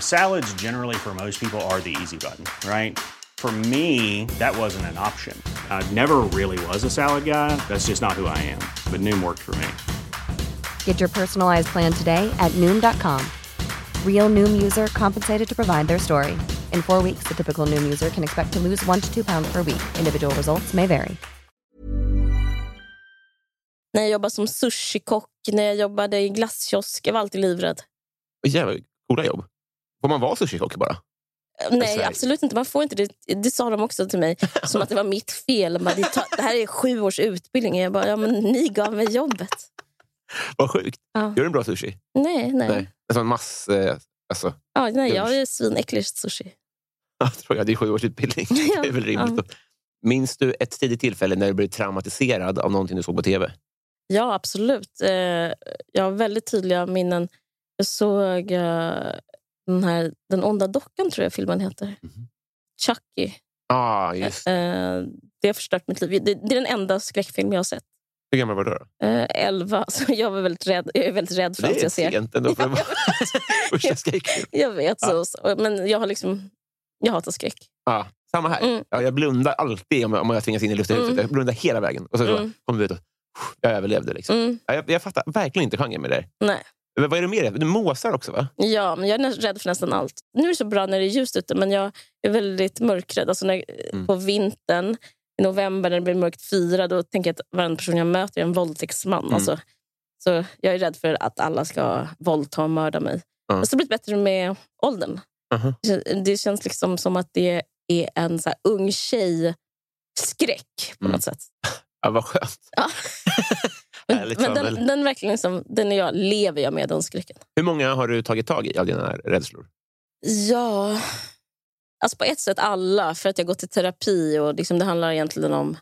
D: Salads, generally, for most people, are the easy button, right? For me, that wasn't an option. I never really was a salad guy. That's just not who I am. But Noom worked for me.
E: Get your personalized plan today at Noom.com. Real Noom user compensated to provide their story. In four weeks, the typical Noom user can expect to lose one to two pounds per week. Individual results may vary.
B: när jag jobbade som sushikock, när jag jobbade i glasskiosk. Jag var alltid livrädd.
A: Åh, Jävlar, coola jobb. Får man vara sushikock bara?
B: Eh, Nej,
A: Sverige.
B: absolut inte. Man får inte det. Det sa de också till mig, som att det var mitt fel. De Bara, det, ta- det här är sju års utbildning. Jag bara, ja, men ni gav mig jobbet.
A: Vad sjukt.
B: Ja.
A: Gör du en bra sushi?
B: Nej, nej. nej.
A: Alltså en mass... Eh, alltså,
B: Ja, nej jag är svinäcklig sushi.
A: jag tror jag, det är sju års utbildning.
B: Ja.
A: Det är väl rimligt. då. Minns du ett tidigt tillfälle när du blev traumatiserad av någonting du såg på tv?
B: Ja, absolut. Eh, jag har väldigt tydliga minnen. Jag såg eh, den här Den onda dockan, tror jag filmen heter.
A: Mhm.
B: Chucky.
A: Ja, ah, just
B: Eh, det har förstört mitt liv. Det, det är den enda skräckfilm jag har sett.
A: Hur gammal var du då?
B: Eh, elva. Så jag, var väldigt rädd, jag är väldigt rädd för
A: Det
B: allt
A: är
B: jag ser.
A: sent ändå. För att vara första skräck.
B: Jag vet. Så, så, men jag har liksom... Jag hatar skräck.
A: Ja, samma här.
B: Mm.
A: Ja, jag blundar alltid om jag, om jag tvingas in i luften
B: Mm.
A: huset. Jag blundar hela vägen. Och så, så
B: Mm.
A: kommer vi ut och jag överlevde. Liksom.
B: Mm,
A: Ja, jag, jag fattar verkligen inte genren med det. där.
B: nej.
A: Men vad är det mer? Du måsar också, va?
B: Ja, men jag är nä- rädd för nästan allt. Nu är det så bra när det är ljust ute, men jag är väldigt mörkrädd. Alltså när,
A: Mm.
B: På vintern, i november, när det blir mörkt fyra, då tänker jag att varenda person jag möter är en våldtäktsman.
A: Mm.
B: Alltså, så jag är rädd för att alla ska våldta och mörda mig.
A: Ja.
B: Men så har det blivit bättre med åldern.
A: Aha.
B: Det- Det känns liksom som att det är en så här ung tjej-skräck på
A: Mm.
B: något sätt.
A: Ja, vad skönt.
B: Ja. men
A: Härligt,
B: men den,
A: Samuel.
B: den, verkligen liksom, den är jag, lever jag med, den skräcken.
A: Hur många har du tagit tag i av dina rädslor?
B: Ja... Alltså på ett sätt alla, för att jag har gått i terapi och liksom det handlar egentligen om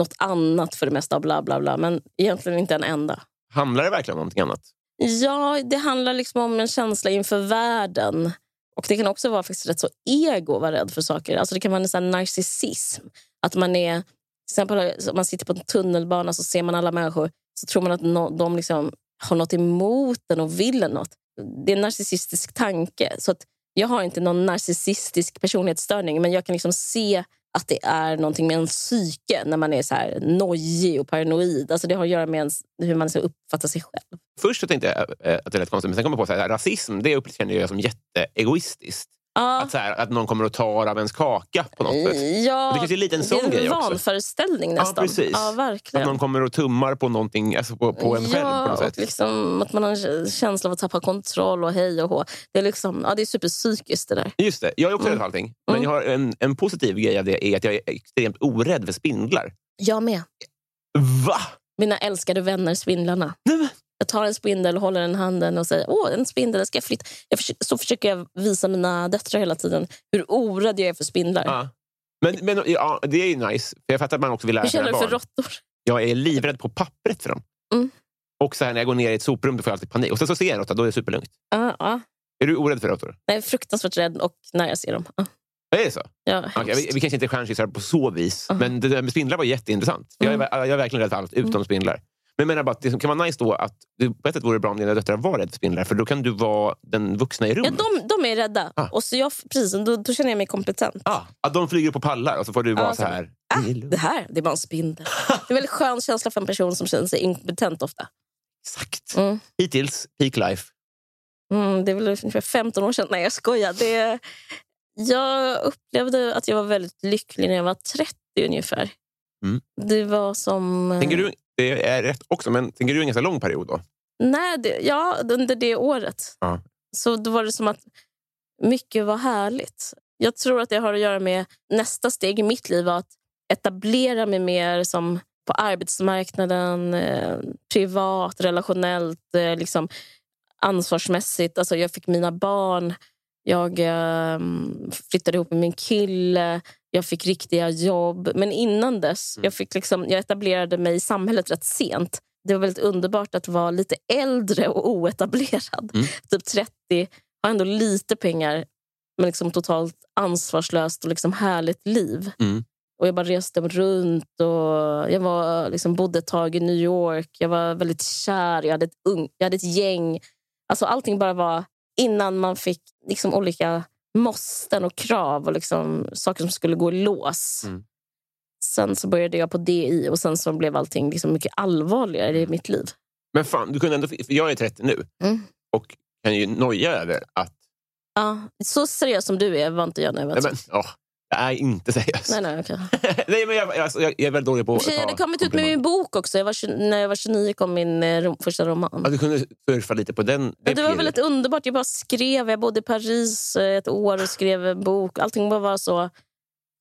B: något annat för det mesta. och Bla, bla, bla, men egentligen inte en enda.
A: Handlar det verkligen om någonting annat?
B: Ja, det handlar liksom om en känsla inför världen. Och Det kan också vara faktiskt rätt så ego att vara rädd för saker. Alltså det kan vara en sån här narcissism. Att man är, till exempel om man sitter på en tunnelbana så ser man alla människor så tror man att no, de liksom har något emot en och vill en något. Det är en narcissistisk tanke. Så att jag har inte någon narcissistisk personlighetsstörning men jag kan liksom se att det är någonting med en psyke när man är så här nojig och paranoid. Alltså det har att göra med ens, hur man så uppfattar sig själv.
A: Först så tänkte jag eh, att det lät konstigt, men sen kom jag på att rasism det upplever jag som jätteegoistiskt.
B: Ja. Mm.
A: Att, så här, att någon kommer och tar av ens kaka på något sätt.
B: Ja,
A: Det kanske är lite en sån
B: det är
A: grej också.
B: vanföreställning
A: Ja,
B: nästan.
A: precis.
B: Ja,
A: Att
B: verkligen.
A: någon kommer och tummar på någonting, alltså på, på en
B: ja,
A: själv. På något sätt.
B: och liksom att man har en känsla av att tappa kontroll och hej och hå. Det är, liksom, ja, det är superpsykiskt det där.
A: Just det, jag är också
B: Mm.
A: rädd för allting. Men
B: Mm.
A: jag har en, en positiv grej av det är att jag är extremt orädd för spindlar.
B: Jag med.
A: Va?
B: Mina älskade vänner spindlarna.
A: Nej, men-
B: Jag tar en spindel och håller den i handen och säger åh, en spindel, den ska jag flytta? Jag försö- så försöker jag visa mina döttrar hela tiden hur orädd jag är för spindlar.
A: Ja. Men, men ja, det är ju nice. För jag fattar att man också vill lära
B: hur känner
A: sina
B: du för
A: barn.
B: råttor?
A: Jag är livrädd på pappret för dem.
B: Mm.
A: Och så här, när jag går ner i ett soprum då får jag alltid panik. Och sen så ser jag en råtta, då är det superlugnt.
B: Ja, ja.
A: Är du orädd för råttor?
B: Ah, Jag är fruktansvärt rädd och när jag ser dem. Ja.
A: Är det så?
B: Ja,
A: Okej, vi,
B: hemskt.
A: vi kanske inte chansar på så
B: Uh-huh.
A: vis. Men det där med spindlar var jätteintressant. För Jag, är, jag är verkligen rädd för allt
B: Mm.
A: utom spindlar. Men jag menar bara att det kan vara nice då att det, på ett sätt vore det bra om dina döttrar var rädda för spindlar. För då kan du vara den vuxna i
B: ja,
A: rummet.
B: de, de är rädda.
A: Ah.
B: Och så jag, precis, då, då känner jag mig kompetent.
A: Ah, att de flyger upp på pallar och så får du vara
B: Ja,
A: så
B: så-
A: här.
B: Ah,
A: "Det är lugnt."
B: det här, det är bara en spindel. Det är en väldigt skön känsla för en person som känner sig inkompetent ofta.
A: Exakt.
B: Mm.
A: Hittills, peak life.
B: Mm, det är väl ungefär 15 år sedan. Nej, jag skojar. Det, jag upplevde att jag var väldigt lycklig när jag var 30 ungefär.
A: Mm.
B: Det var som... eh,
A: Tänker du, det är rätt också, men tänker du en ganska lång period då?
B: Nej, det, ja, under det året.
A: Ja.
B: Så då var det som att mycket var härligt. Jag tror att det har att göra med nästa steg i mitt liv var att etablera mig mer som på arbetsmarknaden, eh, privat, relationellt, eh, liksom ansvarsmässigt. Alltså jag fick mina barn, jag eh, flyttade ihop med min kille, jag fick riktiga jobb. Men innan dess, jag, fick liksom, jag etablerade mig i samhället rätt sent det var väldigt underbart att vara lite äldre och oetablerad.
A: Mm.
B: Typ 30, har ändå lite pengar men liksom totalt ansvarslöst och liksom härligt liv.
A: Mm.
B: Och Jag bara reste runt och jag var, liksom, bodde ett tag i New York. Jag var väldigt kär, jag hade ett, ung, jag hade ett gäng. Alltså allting bara var innan man fick liksom, olika måsten och krav och liksom, saker som skulle gå i lås.
A: Mm.
B: Sen så började jag på DI och sen så blev allting liksom mycket allvarligare i mitt liv.
A: Men fan, du kunde ändå, för jag är 30 nu
B: Mm.
A: och kan ju noja över att...
B: Ja, så seriös som du är var inte jag när jag var
A: Nej, men,
B: tretton.
A: åh, jag är inte seriös.
B: Nej, nej, okej.
A: Nej, men jag, jag, alltså, jag jag är väldigt dålig på
B: I
A: att
B: och för sig, Jag hade
A: ta
B: kommit ut typ med
A: komplimanger.
B: min bok också. Jag var, tjugo- när jag var 29 kom min eh, rom, första roman.
A: Att du kunde surfa lite på den.
B: Ja, det var
A: pirret.
B: väldigt underbart. Jag bara skrev. Jag bodde i Paris eh, ett år och skrev en bok. Allting bara var så...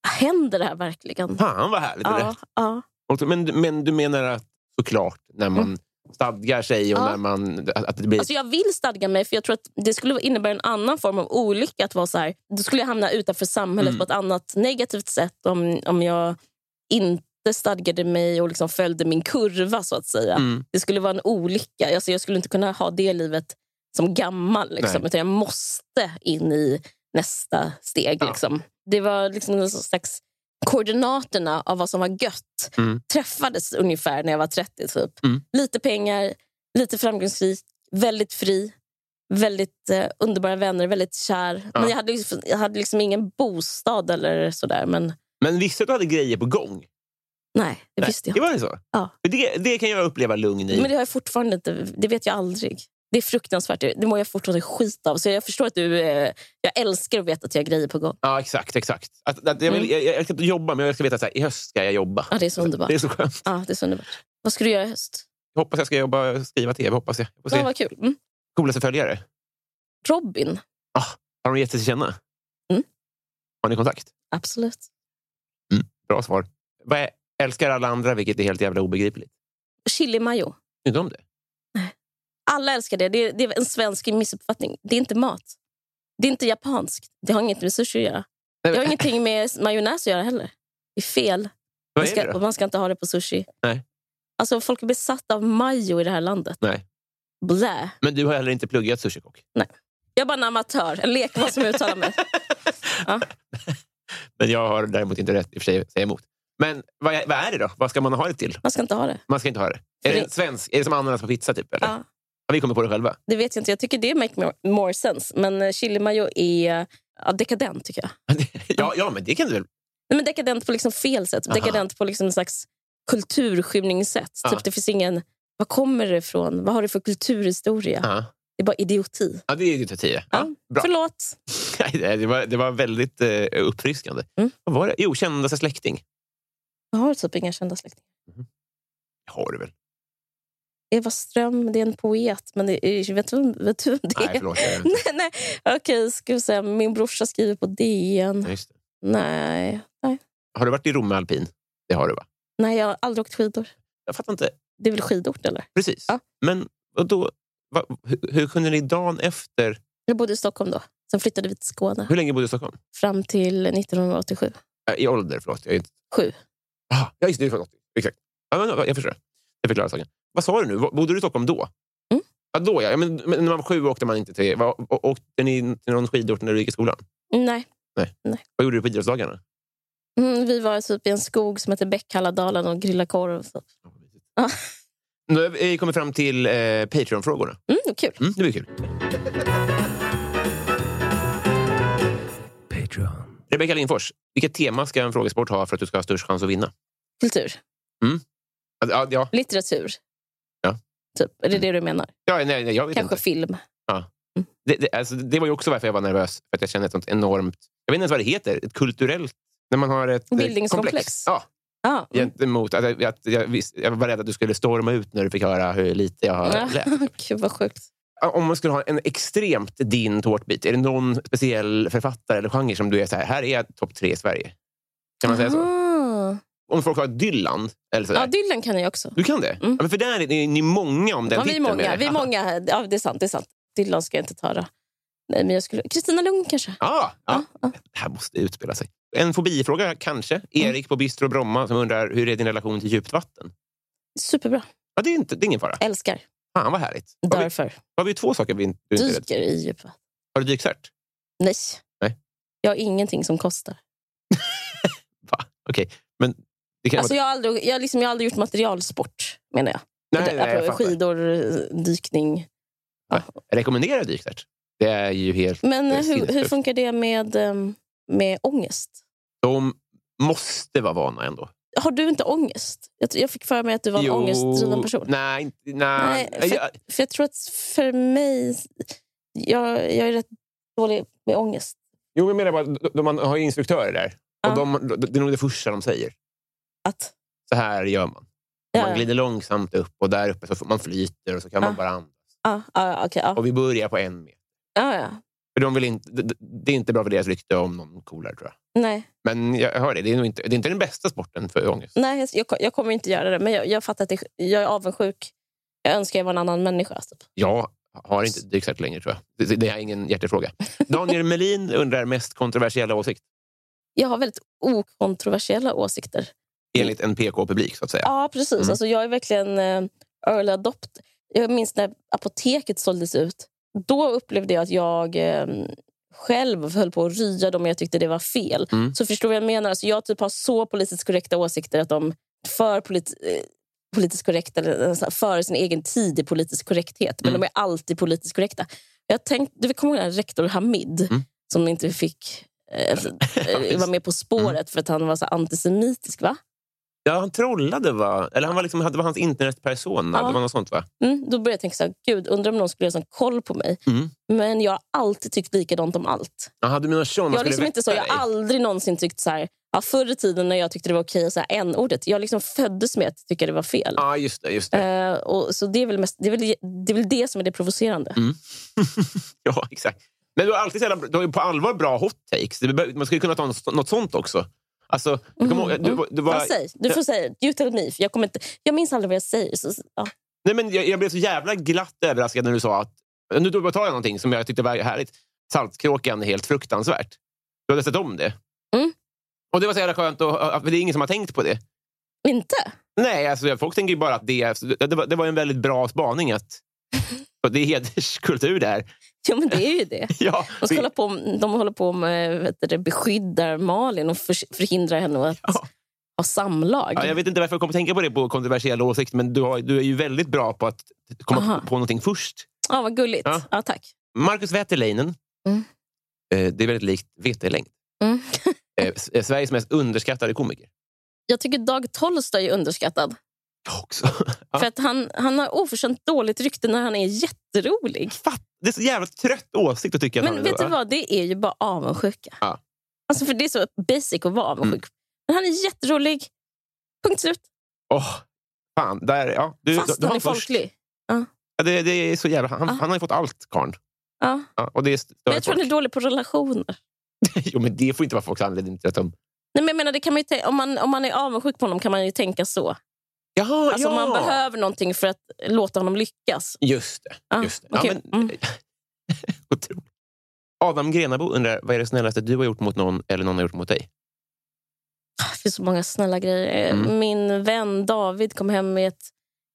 B: Händer det här verkligen?
A: Fan vad härligt.
B: Ja,
A: det där.
B: ja.
A: Och så- Men, men du menar att såklart, när man stadgar sig och
B: Mm. Ja.
A: när man... Att, att det blir...
B: Alltså jag vill stadga mig, för jag tror att det skulle innebära en annan form av olycka. att vara så här, Då skulle jag hamna utanför samhället
A: Mm.
B: på ett annat negativt sätt om, om jag inte stadgade mig och liksom följde min kurva. så att säga.
A: Mm.
B: Det skulle vara en olycka. Alltså jag skulle inte kunna ha det livet som gammal. Liksom,
A: Nej.
B: utan jag måste in i nästa steg.
A: Ja.
B: Liksom. Det var liksom en slags koordinaterna av vad som var gött
A: Mm.
B: träffades ungefär när jag var 30. Typ.
A: Mm.
B: Lite pengar, lite framgångsrik, väldigt fri, väldigt eh, underbara vänner, väldigt kär.
A: Ja.
B: Men jag hade, liksom, jag hade liksom ingen bostad eller sådär. Men
A: Men visste du att du hade grejer på gång?
B: nej, det
A: Nej,
B: visste jag.
A: Det var ju så?
B: Ja.
A: För Det, det kan jag uppleva lugn i.
B: Men det har jag fortfarande inte. Det vet jag aldrig. Det är fruktansvärt. Det det mår jag fortfarande skit av. Så jag förstår att du... Eh, jag älskar att veta att jag har grejer på gång.
A: Ja, exakt. exakt. Att, att jag, vill,
B: Mm.
A: jag, jag ska inte jobba, men jag ska veta att så här, i höst ska jag jobba.
B: Ja, det är så underbart.
A: Det är så skönt.
B: Ja, det är så underbart. Vad ska du göra i höst?
A: Jag hoppas jag ska jobba skriva tv. Hoppas jag. jag får
B: Ja,
A: se.
B: vad kul. Mm.
A: Coolaste följare.
B: Robin.
A: Har de gett sig till känna?
B: Mm.
A: Har ni kontakt?
B: Absolut.
A: Bra svar. Vad är, älskar alla andra, vilket är helt jävla obegripligt.
B: Chili mayo.
A: Tycker Inte om det?
B: Alla älskar det. det. är- Det är en svensk missuppfattning. Det är inte mat. Det är inte japanskt. Det har inget med sushi att göra.
A: Nej,
B: Det har
A: men-
B: ingenting med majonnäs att göra heller. Det är fel. Man
A: Vad är det
B: ska,
A: då?
B: och man ska inte ha det på sushi.
A: Nej.
B: Alltså, folk är besatta av majo i det här landet.
A: Nej.
B: Blä.
A: Men du har heller inte pluggat sushikock.
B: Jag är bara en amatör, en lekman som uttalar mig.
A: Men jag har däremot inte rätt i och för sig att säga emot. Men vad är, vad är det då? Vad ska man ha det till?
B: Man ska inte ha det.
A: Man ska inte ha det. Är det,
B: det-
A: svensk? Är det som ananas på pizza? typ? Eller?
B: Ja,
A: Har vi kommit på det själva?
B: det vet jag inte. Jag tycker det make more, more sense. Men eh, chili mayo är ja, dekadent, tycker jag.
A: ja, ja, men det kan du väl?
B: Nej, men dekadent på liksom fel sätt.
A: Aha.
B: Dekadent på liksom en slags kulturskymningssätt.
A: Ja.
B: Typ, det finns ingen... Vad kommer det ifrån? Vad har det för kulturhistoria?
A: Ja.
B: Det är bara idioti.
A: Ja, det är ju till tio. Ja, bra.
B: Förlåt.
A: Nej, det, var, det var väldigt eh, uppfriskande.
B: Mm.
A: Vad var det? Jo, kändaste släkting.
B: Jag har typ inga kända släktingar.
A: Det har du väl?
B: Eva Ström, det är en poet. Men det är, vet, du, vet du vem det
A: Nej,
B: är?
A: förlåt. Jag, vet inte.
B: nej, nej. Okej, ska vi säga. Min brorsa skriver på DN.
A: Ja, just det.
B: Nej. Nej.
A: Har du varit i Romme alpin? Det har du, va?
B: Nej, jag har aldrig åkt skidor.
A: Jag fattar inte.
B: Det är väl skidort, eller?
A: Precis.
B: Ja.
A: Men och då, va, hur, hur kunde ni dagen efter...
B: Jag bodde i Stockholm då. Sen flyttade vi till Skåne.
A: Hur länge bodde du i Stockholm?
B: Fram till 1987.
A: Äh, I ålder, förlåt. Jag är inte...
B: Sju.
A: Ah, ja, just det. Förlåt. Exakt. Ja, men, jag förstår. Det förklarar saken. Vad sa du nu? Var- Bodde du i Stockholm då?
B: Mm.
A: Ja, då ja. ja men, men när man var sju åkte man inte till... Var, å- åkte ni till någon skidort när du gick i skolan?
B: Nej.
A: Vad gjorde du på idrottsdagarna?
B: Mm, vi var typ i en skog som heter Bäckhalladalen och grillade korv. Så. Ja.
A: Nu har vi kommit fram till eh, Patreon-frågorna.
B: Mm, vad kul.
A: Mm, det blir kul.
F: Patreon.
A: Rebecka Lindfors, vilket tema ska en frågesport ha för att du ska ha störst chans att vinna?
B: Kultur.
A: Alltså, Ja, ja,
B: Litteratur.
A: Ja.
B: Typ. Är det det du menar?
A: ja nej, nej, jag vet
B: Kanske
A: inte.
B: film.
A: Det, det, alltså, det var ju också varför jag var nervös. För att jag kände ett sånt enormt... Jag vet inte ens vad det heter. Ett kulturellt... När man har ett eh,
B: Bildningskomplex.
A: komplex. Ja,
B: Ah, mm.
A: gentemot... Att, jag- att, jag, visst, jag var rädd att du skulle storma ut när du fick höra hur lite jag har läst.
B: Mm. Gud, vad sjukt.
A: Om man skulle ha en extremt din tårtbit, är det någon speciell författare eller genre som du är så här, här är jag topp tre i Sverige? Kan man säga så?
B: Ah.
A: Om folk har Dylan eller så där.
B: Ja, Dylan kan jag också.
A: Du kan det?
B: Mm.
A: Ja, men för där är ni, ni många om den
B: Ja, vi är
A: titeln. menar
B: många.
A: jag.
B: Vi är många. här. Ja, det är sant. Det är sant. Dylan ska jag inte ta. Då. Nej, men jag skulle... Kristina Lugn kanske?
A: Ja, ja.
B: ja.
A: Det här måste utspela sig. En fobifråga kanske. Erik på Bistro Bromma som undrar hur är din relation till djupt vatten?
B: Superbra.
A: Ja, det, är inte, det är ingen fara.
B: Älskar.
A: Fan vad härligt. Då Har vi,
B: Därför.
A: har vi två saker vi inte du inte är rädd
B: Dyker i djupet.
A: Har du dykcert?
B: Nej.
A: Nej.
B: Jag har ingenting som kostar.
A: Va? Okej. Men det kan
B: Alltså,
A: vara...
B: jag, har aldrig, jag, har liksom, jag har aldrig gjort materialsport, menar jag.
A: Nej, nej, jag
B: Apropå
A: fattar.
B: skidor, dykning.
A: Jag rekommenderar dykcert. Det är ju helt...
B: Men eh,
A: Det är
B: hur, hur
A: sinnessjukt.
B: funkar det med, ehm, med ångest?
A: De måste vara vana ändå.
B: Har du inte ångest? Jag, jag fick för mig att du var en ångestdriven person.
A: Nej, inte- nej.
B: Nej, för-
A: Jag,
B: För jag tror att för mig... Jag, jag är rätt dålig med ångest.
A: jo, jag menar bara, de- de- man har ju instruktörer där.
B: Ja.
A: Och de, det är nog det första de säger.
B: Att,
A: Så här gör man.
B: ja,
A: Man glider långsamt upp och där uppe så får man flyter och så kan
B: Ja.
A: man bara andas.
B: ja, ja, ja, Ah, okej, ja.
A: Och vi börjar på en meter.
B: Ja, ja.
A: För de vill inte, det- det- det är inte bra för deras rykte om någon coolare tror jag.
B: Nej,
A: Men jag hör det, det är, nog inte, det är inte den bästa sporten för ångest.
B: nej jag, jag kommer inte göra det. Men jag, jag fattar att det, jag är avundsjuk. Jag önskar jag var en annan människa. Typ.
A: Jag har inte dykcert längre tror jag. Det, det är ingen hjärtefråga. Daniel Melin undrar mest kontroversiella åsikt.
B: Jag har väldigt okontroversiella åsikter.
A: Enligt en PK-publik så att säga.
B: Ja, precis.
A: Mm.
B: Alltså, jag är verkligen eh, early adopt. Jag minns när apoteket såldes ut. Då upplevde jag att jag eh, själv höll på att rya dem jag tyckte det var fel.
A: Mm.
B: Så förstår du vad jag menar? Alltså, jag typ har så politiskt korrekta åsikter att de för polit, eh, politiskt korrekta, eller eh, så här, före sin egen tid i politisk korrekthet. Men
A: Mm.
B: de är alltid politiskt korrekta. Jag tänkte, du kommer ihåg den här rektor Hamid
A: Mm.
B: som inte fick eh, eh,
A: visst. Mm.
B: vara med På spåret för att han var så antisemitisk, va?
A: Ja, han trollade va? Eller han var liksom, det var hans internetpersona.
B: Ja.
A: Det var något sånt va?
B: Mm, då började jag tänka så här, gud, undrar om någon skulle ha sån koll på mig.
A: Mm.
B: Men jag har alltid tyckt likadant om allt.
A: Jaha, du menar så? man
B: Jag, har
A: skulle
B: liksom inte så,
A: väcka
B: jag har
A: dig.
B: aldrig någonsin tyckt så här, ja, förr i tiden när jag tyckte det var okej att säga n-ordet. Jag liksom föddes med att tycka det var fel.
A: Ja, just det. Just det.
B: Eh, och, så det är, väl mest, det, är väl, det är väl det som är det provocerande.
A: ja, exakt. Men du har alltid sällan, du har ju på allvar bra hot takes. Det be- Man skulle kunna ta något, något sånt också. Alltså, du kommer ihåg- du, du var,
B: Ja, säg, du får säga, you tell me. för Jag, kommer inte, jag minns aldrig vad jag säger. Så, ja.
A: nej, men jag, jag blev så jävla glatt överraskad när du sa att... Nu tar jag någonting som jag tyckte var härligt. Saltkråkan är helt fruktansvärt. Du hade sett om det.
B: Mm.
A: Och Det var så jävla skönt, och, och, för det är ingen som har tänkt på det.
B: Inte?
A: Nej, alltså, folk tänker ju bara att det, alltså, det, det, var, det var en väldigt bra spaning. Att, och det är hederskultur där.
B: Jo, men det är ju det.
A: Ja,
B: De,
A: vi-
B: ska hålla på, de håller på med vet du, det, beskyddar Malin och förs- förhindrar henne att
A: Ja.
B: ha samlag.
A: Ja, jag vet inte varför jag kom att tänka på det på kontroversiella åsikter, men du, har, du är ju väldigt bra på att komma
B: Aha.
A: på någonting först.
B: Ja, vad gulligt.
A: Ja.
B: Ja. tack.
A: Marcus Wäterleinen.
B: Mm.
A: Eh, Det är väldigt likt Vetelängd.
B: Mm.
A: Eh, S- eh, Sveriges mest underskattade komiker.
B: Jag tycker Dag Tolstoy är underskattad.
A: Jag också. Ja.
B: För att han, han har oförtjänt dåligt rykte när han är jätterolig.
A: Fatt, det är så jävla trött åsikt att tycka att han
B: Men
A: är
B: vet
A: då.
B: du vad? Det är ju bara avundsjuka.
A: Ja. Mm.
B: Alltså för det är så basic att vara avundsjuk. Men han är jätterolig. Punkt slut.
A: Åh, fan, där, ja, du, du,
B: Fast
A: du
B: han är
A: var först.
B: folklig.
A: Ja, det, det är så jävla, han,
B: Ja.
A: han har ju fått allt, karln.
B: Ja.
A: Ja, och det är större
B: Men jag tror han är
A: folk.
B: dålig på relationer.
A: jo, men det får inte vara folks anledning till att de...
B: Nej, men jag menar, det kan man ju tän- om, man, om man är avundsjuk på honom kan man ju tänka så.
A: Jaha,
B: Alltså,
A: ja!
B: Om man behöver någonting för att låta honom lyckas.
A: Just det.
B: Ja,
A: Just det.
B: okej.
A: Ja, men,
B: Mm.
A: Otroligt. Adam Grenabo undrar, vad är det snällaste du har gjort mot någon eller någon har gjort mot dig?
B: Ah, Det finns så många snälla grejer. Eh,
A: Mm.
B: Min vän David kom hem med ett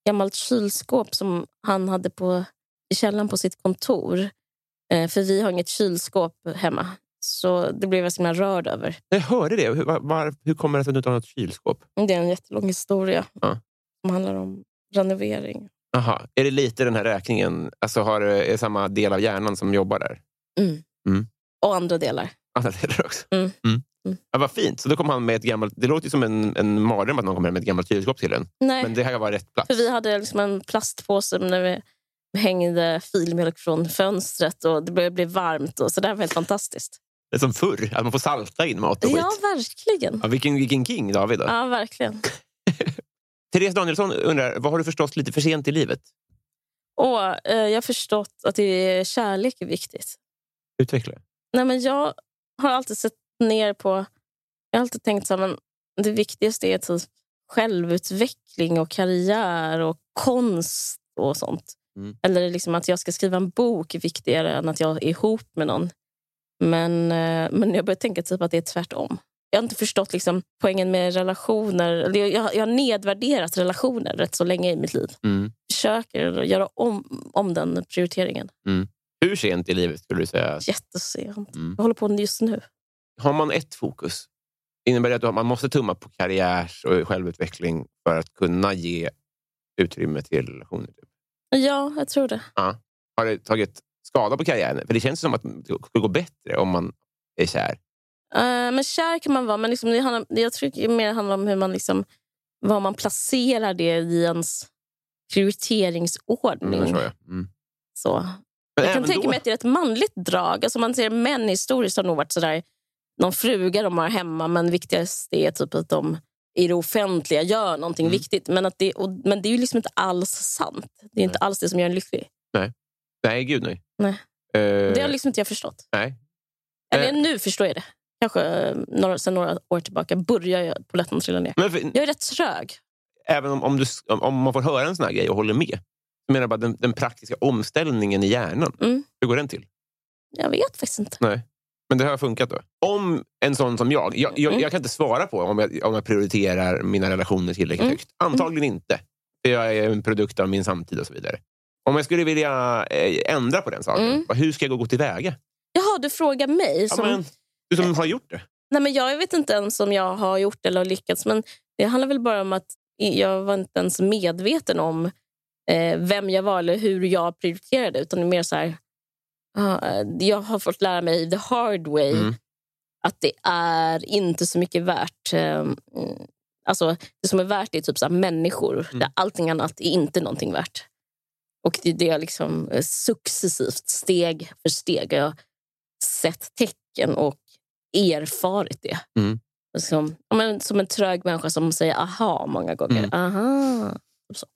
B: gammalt kylskåp som han hade på, i källaren på sitt kontor. Eh, för vi har inget kylskåp hemma. Så det blev jag så himla rörd över.
A: Jag hörde det. Hur, var, var, hur kommer det sig att du inte har något kylskåp?
B: Det är en jättelång historia
A: Ja.
B: som handlar om renovering.
A: Aha. Är det lite den här räkningen? Alltså har, är det samma del av hjärnan som jobbar där?
B: Och andra delar.
A: Alla delar också?
B: Mm. Mm.
A: Ja, vad fint. Så då kom han med ett gammalt... Det låter ju som en, en mardröm att någon kommer med ett gammalt kylskåp till en.
B: Nej,
A: Men det här var rätt plats.
B: för vi hade liksom en plastpåse när vi hängde filmjölk från fönstret och det började bli varmt. Och, så det här var helt fantastiskt.
A: Det är som förr, att man får salta in mat och skit.
B: Ja, verkligen.
A: Ja, vilken, vilken king David. Då.
B: Ja, verkligen.
A: Therese Danielsson undrar, vad har du förstått lite för sent i livet?
B: Och, eh, jag har förstått att det är kärlek är viktigt.
A: Utveckla.
B: Nej, men jag har alltid sett ner på... Jag har alltid tänkt så här, men det viktigaste är typ självutveckling och karriär och konst och sånt.
A: Mm.
B: Eller liksom att jag ska skriva en bok är viktigare än att jag är ihop med någon. Men, eh, men jag börjar tänka typ att det är tvärtom. Jag har inte förstått liksom poängen med relationer. Eller Jag, jag, jag har nedvärderat relationer rätt så länge i mitt liv.
A: Mm.
B: Försöker göra om, om den prioriteringen.
A: Hur sent i livet skulle du säga?
B: Jättesent.
A: Mm.
B: Jag håller på just nu.
A: Har man ett fokus, innebär det att du har- man måste tumma på karriär och självutveckling för att kunna ge utrymme till relationer? typ?
B: Ja, jag tror det.
A: Har det tagit skada på karriären? För det känns ju som att det skulle gå bättre om man är kär.
B: Eh, men kär kan man vara, men liksom det handlar, jag tror det mer handlar om hur man liksom, var man placerar det i ens prioriteringsordning.
A: Mm, så, ja. mm.
B: så.
A: Men
B: Jag kan
A: även
B: tänka
A: då-
B: mig att det är ett manligt drag. Alltså man ser Män historiskt har nog varit sådär, någon fruga de har hemma men viktigast är typ att de i det offentliga gör någonting
A: Mm.
B: viktigt. Men, att det, och, men det är ju liksom inte alls sant. Det är inte alls det som gör en lycklig.
A: Nej, gud nej.
B: Nej.
A: Eh,
B: Det har liksom inte jag förstått.
A: nej.
B: Eller
A: Eh.
B: nu förstår jag det. Kanske eh, några, sen några år tillbaka börjar jag polletten trilla ner.
A: Men för,
B: Jag är rätt trög.
A: även om, om, du, om, om man får höra en sån här grej och håller med. Jag menar jag bara den, den praktiska omställningen i hjärnan.
B: Mm.
A: Hur går den till?
B: Jag vet faktiskt inte.
A: Nej. Men det har funkat då? Om en sån som jag. Jag, jag,
B: Mm.
A: jag kan inte svara på om jag, om jag prioriterar mina relationer tillräckligt
B: Mm.
A: högt. Antagligen inte. För jag är en produkt av min samtid och så vidare. Om jag skulle vilja eh, ändra på den saken,
B: Mm.
A: vad- hur ska jag gå- gå tillväga?
B: Jaha, du frågar mig.
A: Ja,
B: Som,
A: men, du som har gjort det.
B: nej, men jag vet inte ens om jag har gjort eller har lyckats. Men det handlar väl bara om att i- jag var inte ens medveten om eh, vem jag var eller hur jag prioriterade. Utan det är mer så här... ah, eh, jag har fått lära mig the hard way
A: Mm.
B: att det är inte så mycket värt. Eh, mm, alltså, det som är värt är typ så här människor. Där allting annat är inte någonting värt. Och det är det jag liksom eh, successivt, steg för steg, har jag sett tecken och erfarit det.
A: Mm.
B: Och Som, ja, men, som en trög människa som säger aha många gånger.
A: Mm.
B: Aha. Så.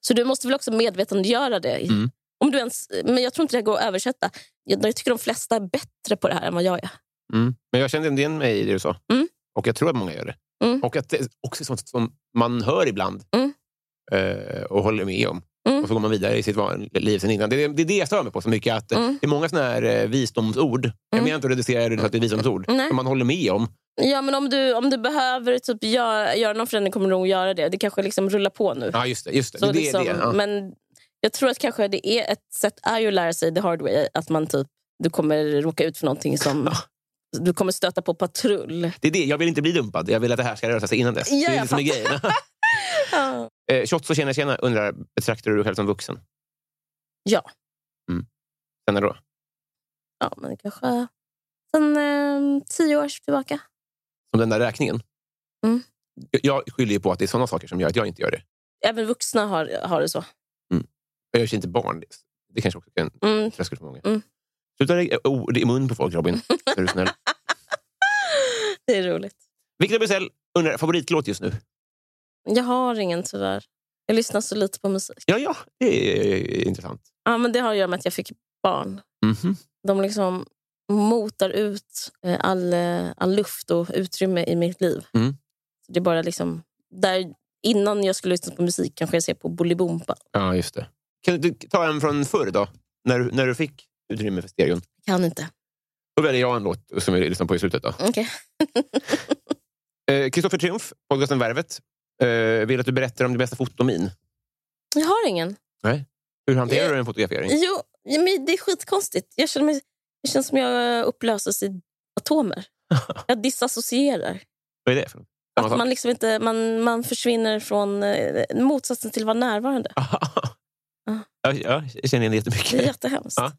B: så du måste väl också medvetandegöra det.
A: Mm.
B: Om du ens, men jag tror inte det går att översätta. Jag, jag tycker de flesta är bättre på det här än vad jag är.
A: Mm. Men jag kände igen mig i det du sa.
B: Mm.
A: Och jag tror att många gör det.
B: Mm.
A: Och att det är också sånt som man hör ibland
B: Mm.
A: eh, och håller med om.
B: Mm.
A: Och så går man vidare i sitt van- liv sen innan. Det är det, är det jag stör mig på så mycket. Att eh,
B: Mm.
A: Det är många såna här eh, visdomsord. Jag
B: Mm.
A: menar inte att reducera det till att det är visdomsord.
B: Nej.
A: Men man håller med om.
B: Ja, men om du, om du behöver typ göra, göra någon förändring kommer du nog göra det. Det kanske liksom rullar på nu.
A: Ja, just det. Just det.
B: Så
A: det, är det,
B: liksom,
A: det. Ja.
B: Men jag tror att kanske det är ett sätt är ju att lära sig the hard way. Att man typ, du kommer råka ut för någonting som... Du kommer stöta på patrull.
A: det är det. Jag vill inte bli dumpad. Jag vill att det här ska röra sig innan dess.
B: Ja,
A: det är
B: jag
A: det som är grejen.
B: Ja.
A: Eh, Shots och tjena tjena undrar, betraktar du dig själv som vuxen?
B: Ja.
A: Mm. Sen är det då?
B: Ja, men kanske sen eh, tio år tillbaka.
A: Som den där räkningen.
B: Mm.
A: Jag- Jag skyller ju på att det är såna saker som gör att jag inte gör det.
B: Även vuxna har, har det så.
A: Jag är inte barn. Det- Det kanske också är en
B: Mm.
A: tröskel för många.
B: Mm.
A: Sluta lägga ord i mun på folk, Robin. Är du snäll.
B: Det är roligt.
A: Victor Bysell undrar favoritlåt just nu.
B: Jag har ingen tyvärr. Jag lyssnar så lite på musik.
A: Ja, ja, det är eh, intressant.
B: Ja, men det har att göra med att jag fick barn.
A: Mhm.
B: De liksom motar ut eh, all, eh, all luft och utrymme i mitt liv.
A: Mm.
B: Så det är bara liksom... Där, innan jag skulle lyssna på musik kanske jag ser på Bolibompa.
A: Ja, just det. Kan du ta en från förr då? När, du- när du fick utrymme för stereon.
B: Kan inte.
A: Då väljer jag en låt som vi lyssnar på i slutet. då.
B: Okej.
A: Eh, Kristoffer Triumf, podcasten Värvet, eh, vill att du berättar om din bästa fotomin.
B: Jag har ingen.
A: Hur hanterar du en fotografering?
B: Jo, ja, men det är skitkonstigt. Jag känner mig, det känns som jag upplöses i atomer. Jag disassocierar.
A: Vad är det för något? Samma
B: Att
A: sak.
B: man, liksom inte, man, man försvinner från eh, motsatsen till att vara närvarande. Ja.
A: Ja, ja, jag känner igen det
B: Det är
A: jättemycket.
B: jättehemskt.
A: Ja.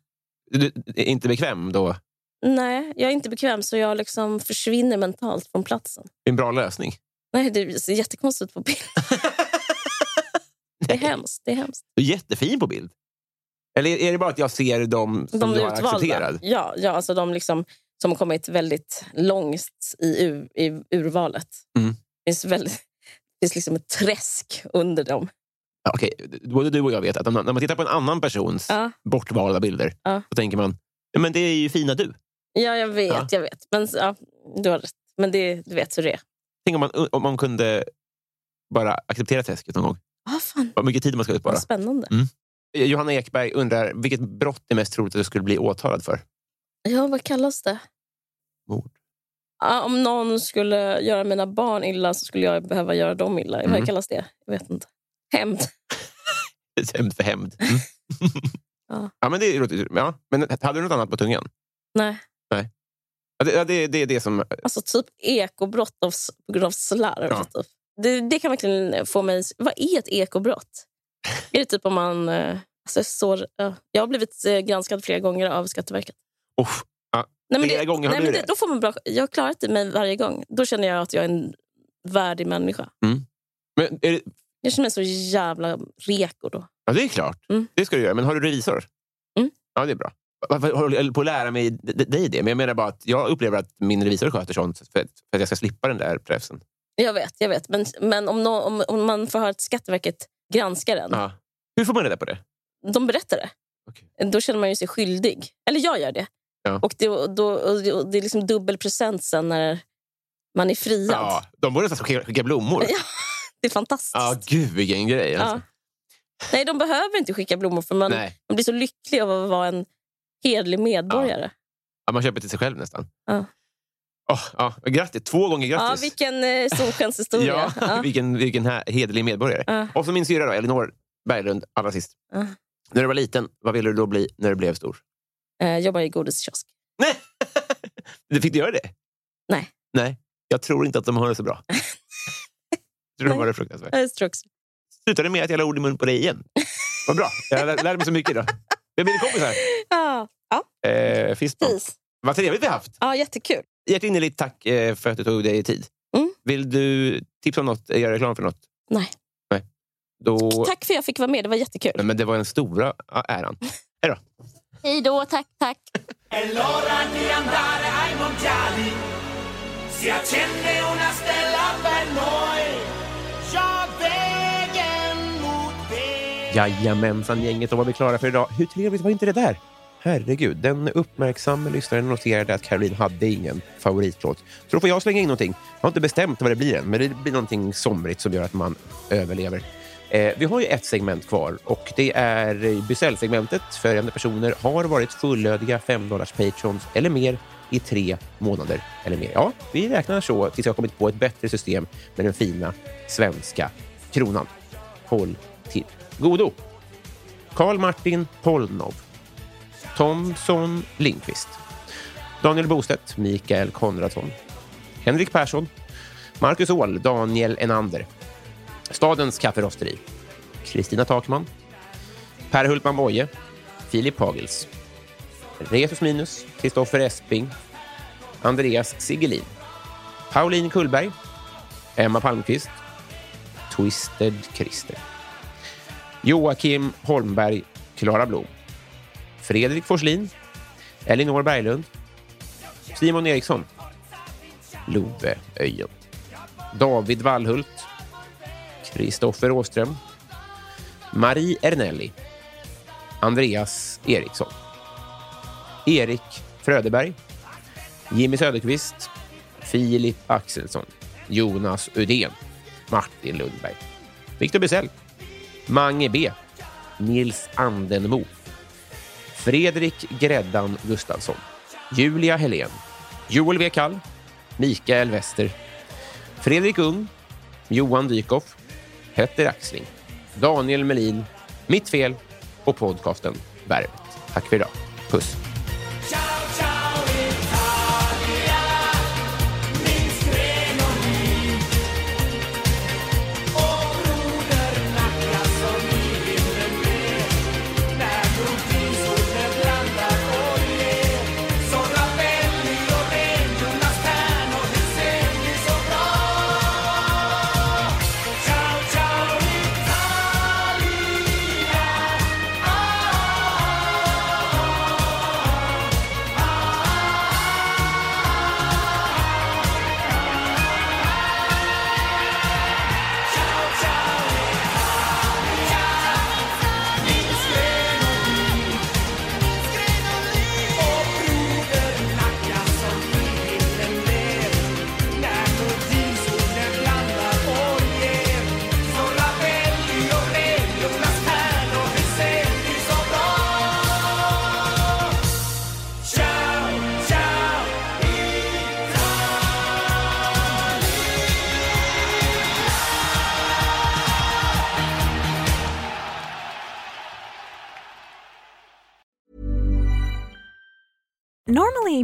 A: Du är inte bekväm då? Det
B: Nej, jag är inte bekväm så jag liksom försvinner mentalt från platsen.
A: är en bra lösning.
B: Nej, det ser jättekonstigt ut på bild. det är hemskt. Det är hemskt.
A: Du är jättefin på bild. Eller är det bara att jag ser dem som
B: De
A: du har
B: utvalda.
A: accepterat?
B: Ja, ja, alltså de liksom, som har kommit väldigt långt i, u, i urvalet.
A: Mm.
B: Det finns, väldigt, det finns liksom ett träsk under dem.
A: Ja, Okej, både du och jag vet att om- när man tittar på en annan persons
B: Ja,
A: bortvalda bilder,
B: Ja.
A: då tänker man "Ja, men det är ju fina du.
B: ja jag vet.
A: Ja.
B: jag vet. Men, ja, du har rätt. Men det, du vet hur det är.
A: Tänk om man, om man kunde bara acceptera träsket någon gång.
B: Ah, fan,
A: Vad mycket tid man skulle spara.
B: vad spännande.
A: Johanna Ekberg undrar vilket brott det är mest troligt att du skulle bli åtalad för?
B: Ja, vad kallas det?
A: Mord.
B: Ja, om någon skulle göra mina barn illa så skulle jag behöva göra dem illa.
A: Mm.
B: Vad kallas det? Jag vet inte. Hämnd.
A: Hämnd för hämnd. Mm.
B: Ja.
A: ja, men det låter- ja. Men hade du något annat på tungan?
B: Nej.
A: Ja, det, ja, det, det är det som...
B: Alltså typ ekobrott av, s- på grund av slarv.
A: Ja.
B: Typ. Det, det kan verkligen få mig... Vad är ett ekobrott? är det typ om man... eh, Alltså, så, ja. jag har blivit eh, granskad flera gånger av Skatteverket.
A: Uff,
B: Nej,
A: Flera gånger har
B: nej,
A: du
B: men
A: det?
B: det, då får man bra, jag har klarat mig varje gång. Då känner jag att jag är en värdig människa.
A: men är det,
B: Jag känner mig så jävla reko då.
A: ja, det är klart.
B: Mm.
A: Det ska du göra. Men har du revisor?
B: Mm.
A: Ja, det är bra. Varför håller jag på att lära mig d- d- dig det? Men jag menar bara att jag upplever att min revisor sköter sånt för att, för att jag ska slippa den där prefsen.
B: Jag vet, jag vet. Men, men om, nå- om, om man får höra att Skatteverket granskar en,
A: Ja. Hur får man reda på det?
B: de berättar det.
A: Okej.
B: Då känner man ju sig skyldig. Eller jag gör det.
A: Ja.
B: Och, det och då, och det, och det är liksom dubbel present sen när man är friad.
A: Ja, de borde nästan skicka, skicka blommor.
B: Ja, det är fantastiskt.
A: Ja, alltså- gud vilken grej.
B: Ja.
A: Alltså.
B: Nej, de behöver inte skicka blommor för man,
A: Nej.
B: man blir så lycklig av att vara en hederlig medborgare.
A: Ja, man köper till sig själv nästan.
B: Ja.
A: Åh, ja, grattis, två gånger
B: Ja,
A: grattis.
B: vilken eh, solskenshistoria.
A: Ja,
B: Ja.
A: vilken, vilken här, hederlig medborgare.
B: Ja.
A: Och så min syrra, då, Elinor Berglund, allra sist.
B: Ja.
A: När du var liten, vad ville du då bli när du blev stor?
B: Eh, jobbar i godiskiosk.
A: Du fick du göra det?
B: Nej.
A: Nej, jag tror inte att de har det så bra. Jag tror de har det fruktansvärt.
B: Jag tror också-
A: Slutade med att jag la ord i mun på dig igen. Vad bra, jag lär, lärde mig så mycket idag. Vi har blivit kompisar.
B: Ja,
A: Eh, finns det-
B: precis.
A: Vad trevligt vi har haft.
B: Ja, jättekul.
A: Hjärtinnerligt tack eh, för att du tog dig tid.
B: Mm.
A: Vill du tipsa om något, eh, göra reklam för något?
B: Nej.
A: Nej. Då...
B: Tack för att jag fick vara med. Det var jättekul.
A: Nej, Men det var den stora ä- äran. Hej då.
B: Hej då, tack, tack.
F: È l'ora di andare ai mondiali. Si accende una stella per noi. Jawegen mot Belgien.
A: Jajamensan gänget, då var vi klara för idag. Hur trevligt var inte det där? Herregud, den uppmärksamma lyssnaren noterade att Caroline hade ingen favoritlåt. Så då får jag slänga in någonting. Jag har inte bestämt vad det blir än, men det blir någonting somrigt som gör att man överlever. Eh, vi har ju ett segment kvar och det är eh, Bysell-segmentet. Följande personer har varit fullödiga 5 patrons eller mer i tre månader eller mer. Ja, vi räknar så tills jag har kommit på ett bättre system med den fina svenska kronan. Håll till godo! Karl Martin Polnov, Thomson Lindqvist, Daniel Bostedt, Mikael Konradsson, Henrik Persson, Marcus Åhl, Daniel Enander, Stadens kafferosteri, Kristina Takman, Per Hultman Boye, Filip Pagels, Resus Minus, Kristoffer Esping, Andreas Sigelin, Pauline Kullberg, Emma Palmqvist, Twisted Christer. Joakim Holmberg, Klara Blom, Fredrik Forslin, Elinor Berglund, Simon Eriksson, Love Öjen, David Wallhult, Kristoffer Åström, Marie Ernelli, Andreas Eriksson, Erik Fröderberg, Jimmy Söderqvist, Filip Axelsson, Jonas Udén, Martin Lundberg, Victor Bysell, Mange B. Nils Andenmo. Fredrik Gräddan Gustafsson. Julia Helén. Joel W. Kall. Mikael Wester. Fredrik Ung. Johan Dykhoff. Petter Axling. Daniel Melin, Mitt Fel och podcasten Värvet. Tack för idag. Puss!
F: Ciao, ciao Italia, min skrenoni. Och Brodernackar som vi vinner med. När bruntinsolen blandar och ler. Som Ravelli och Rengöringsnas stjärnor, det ser vi så bra. Ciao, ciao Italia, ah. Ciao, ciao, Italia!
C: Normally,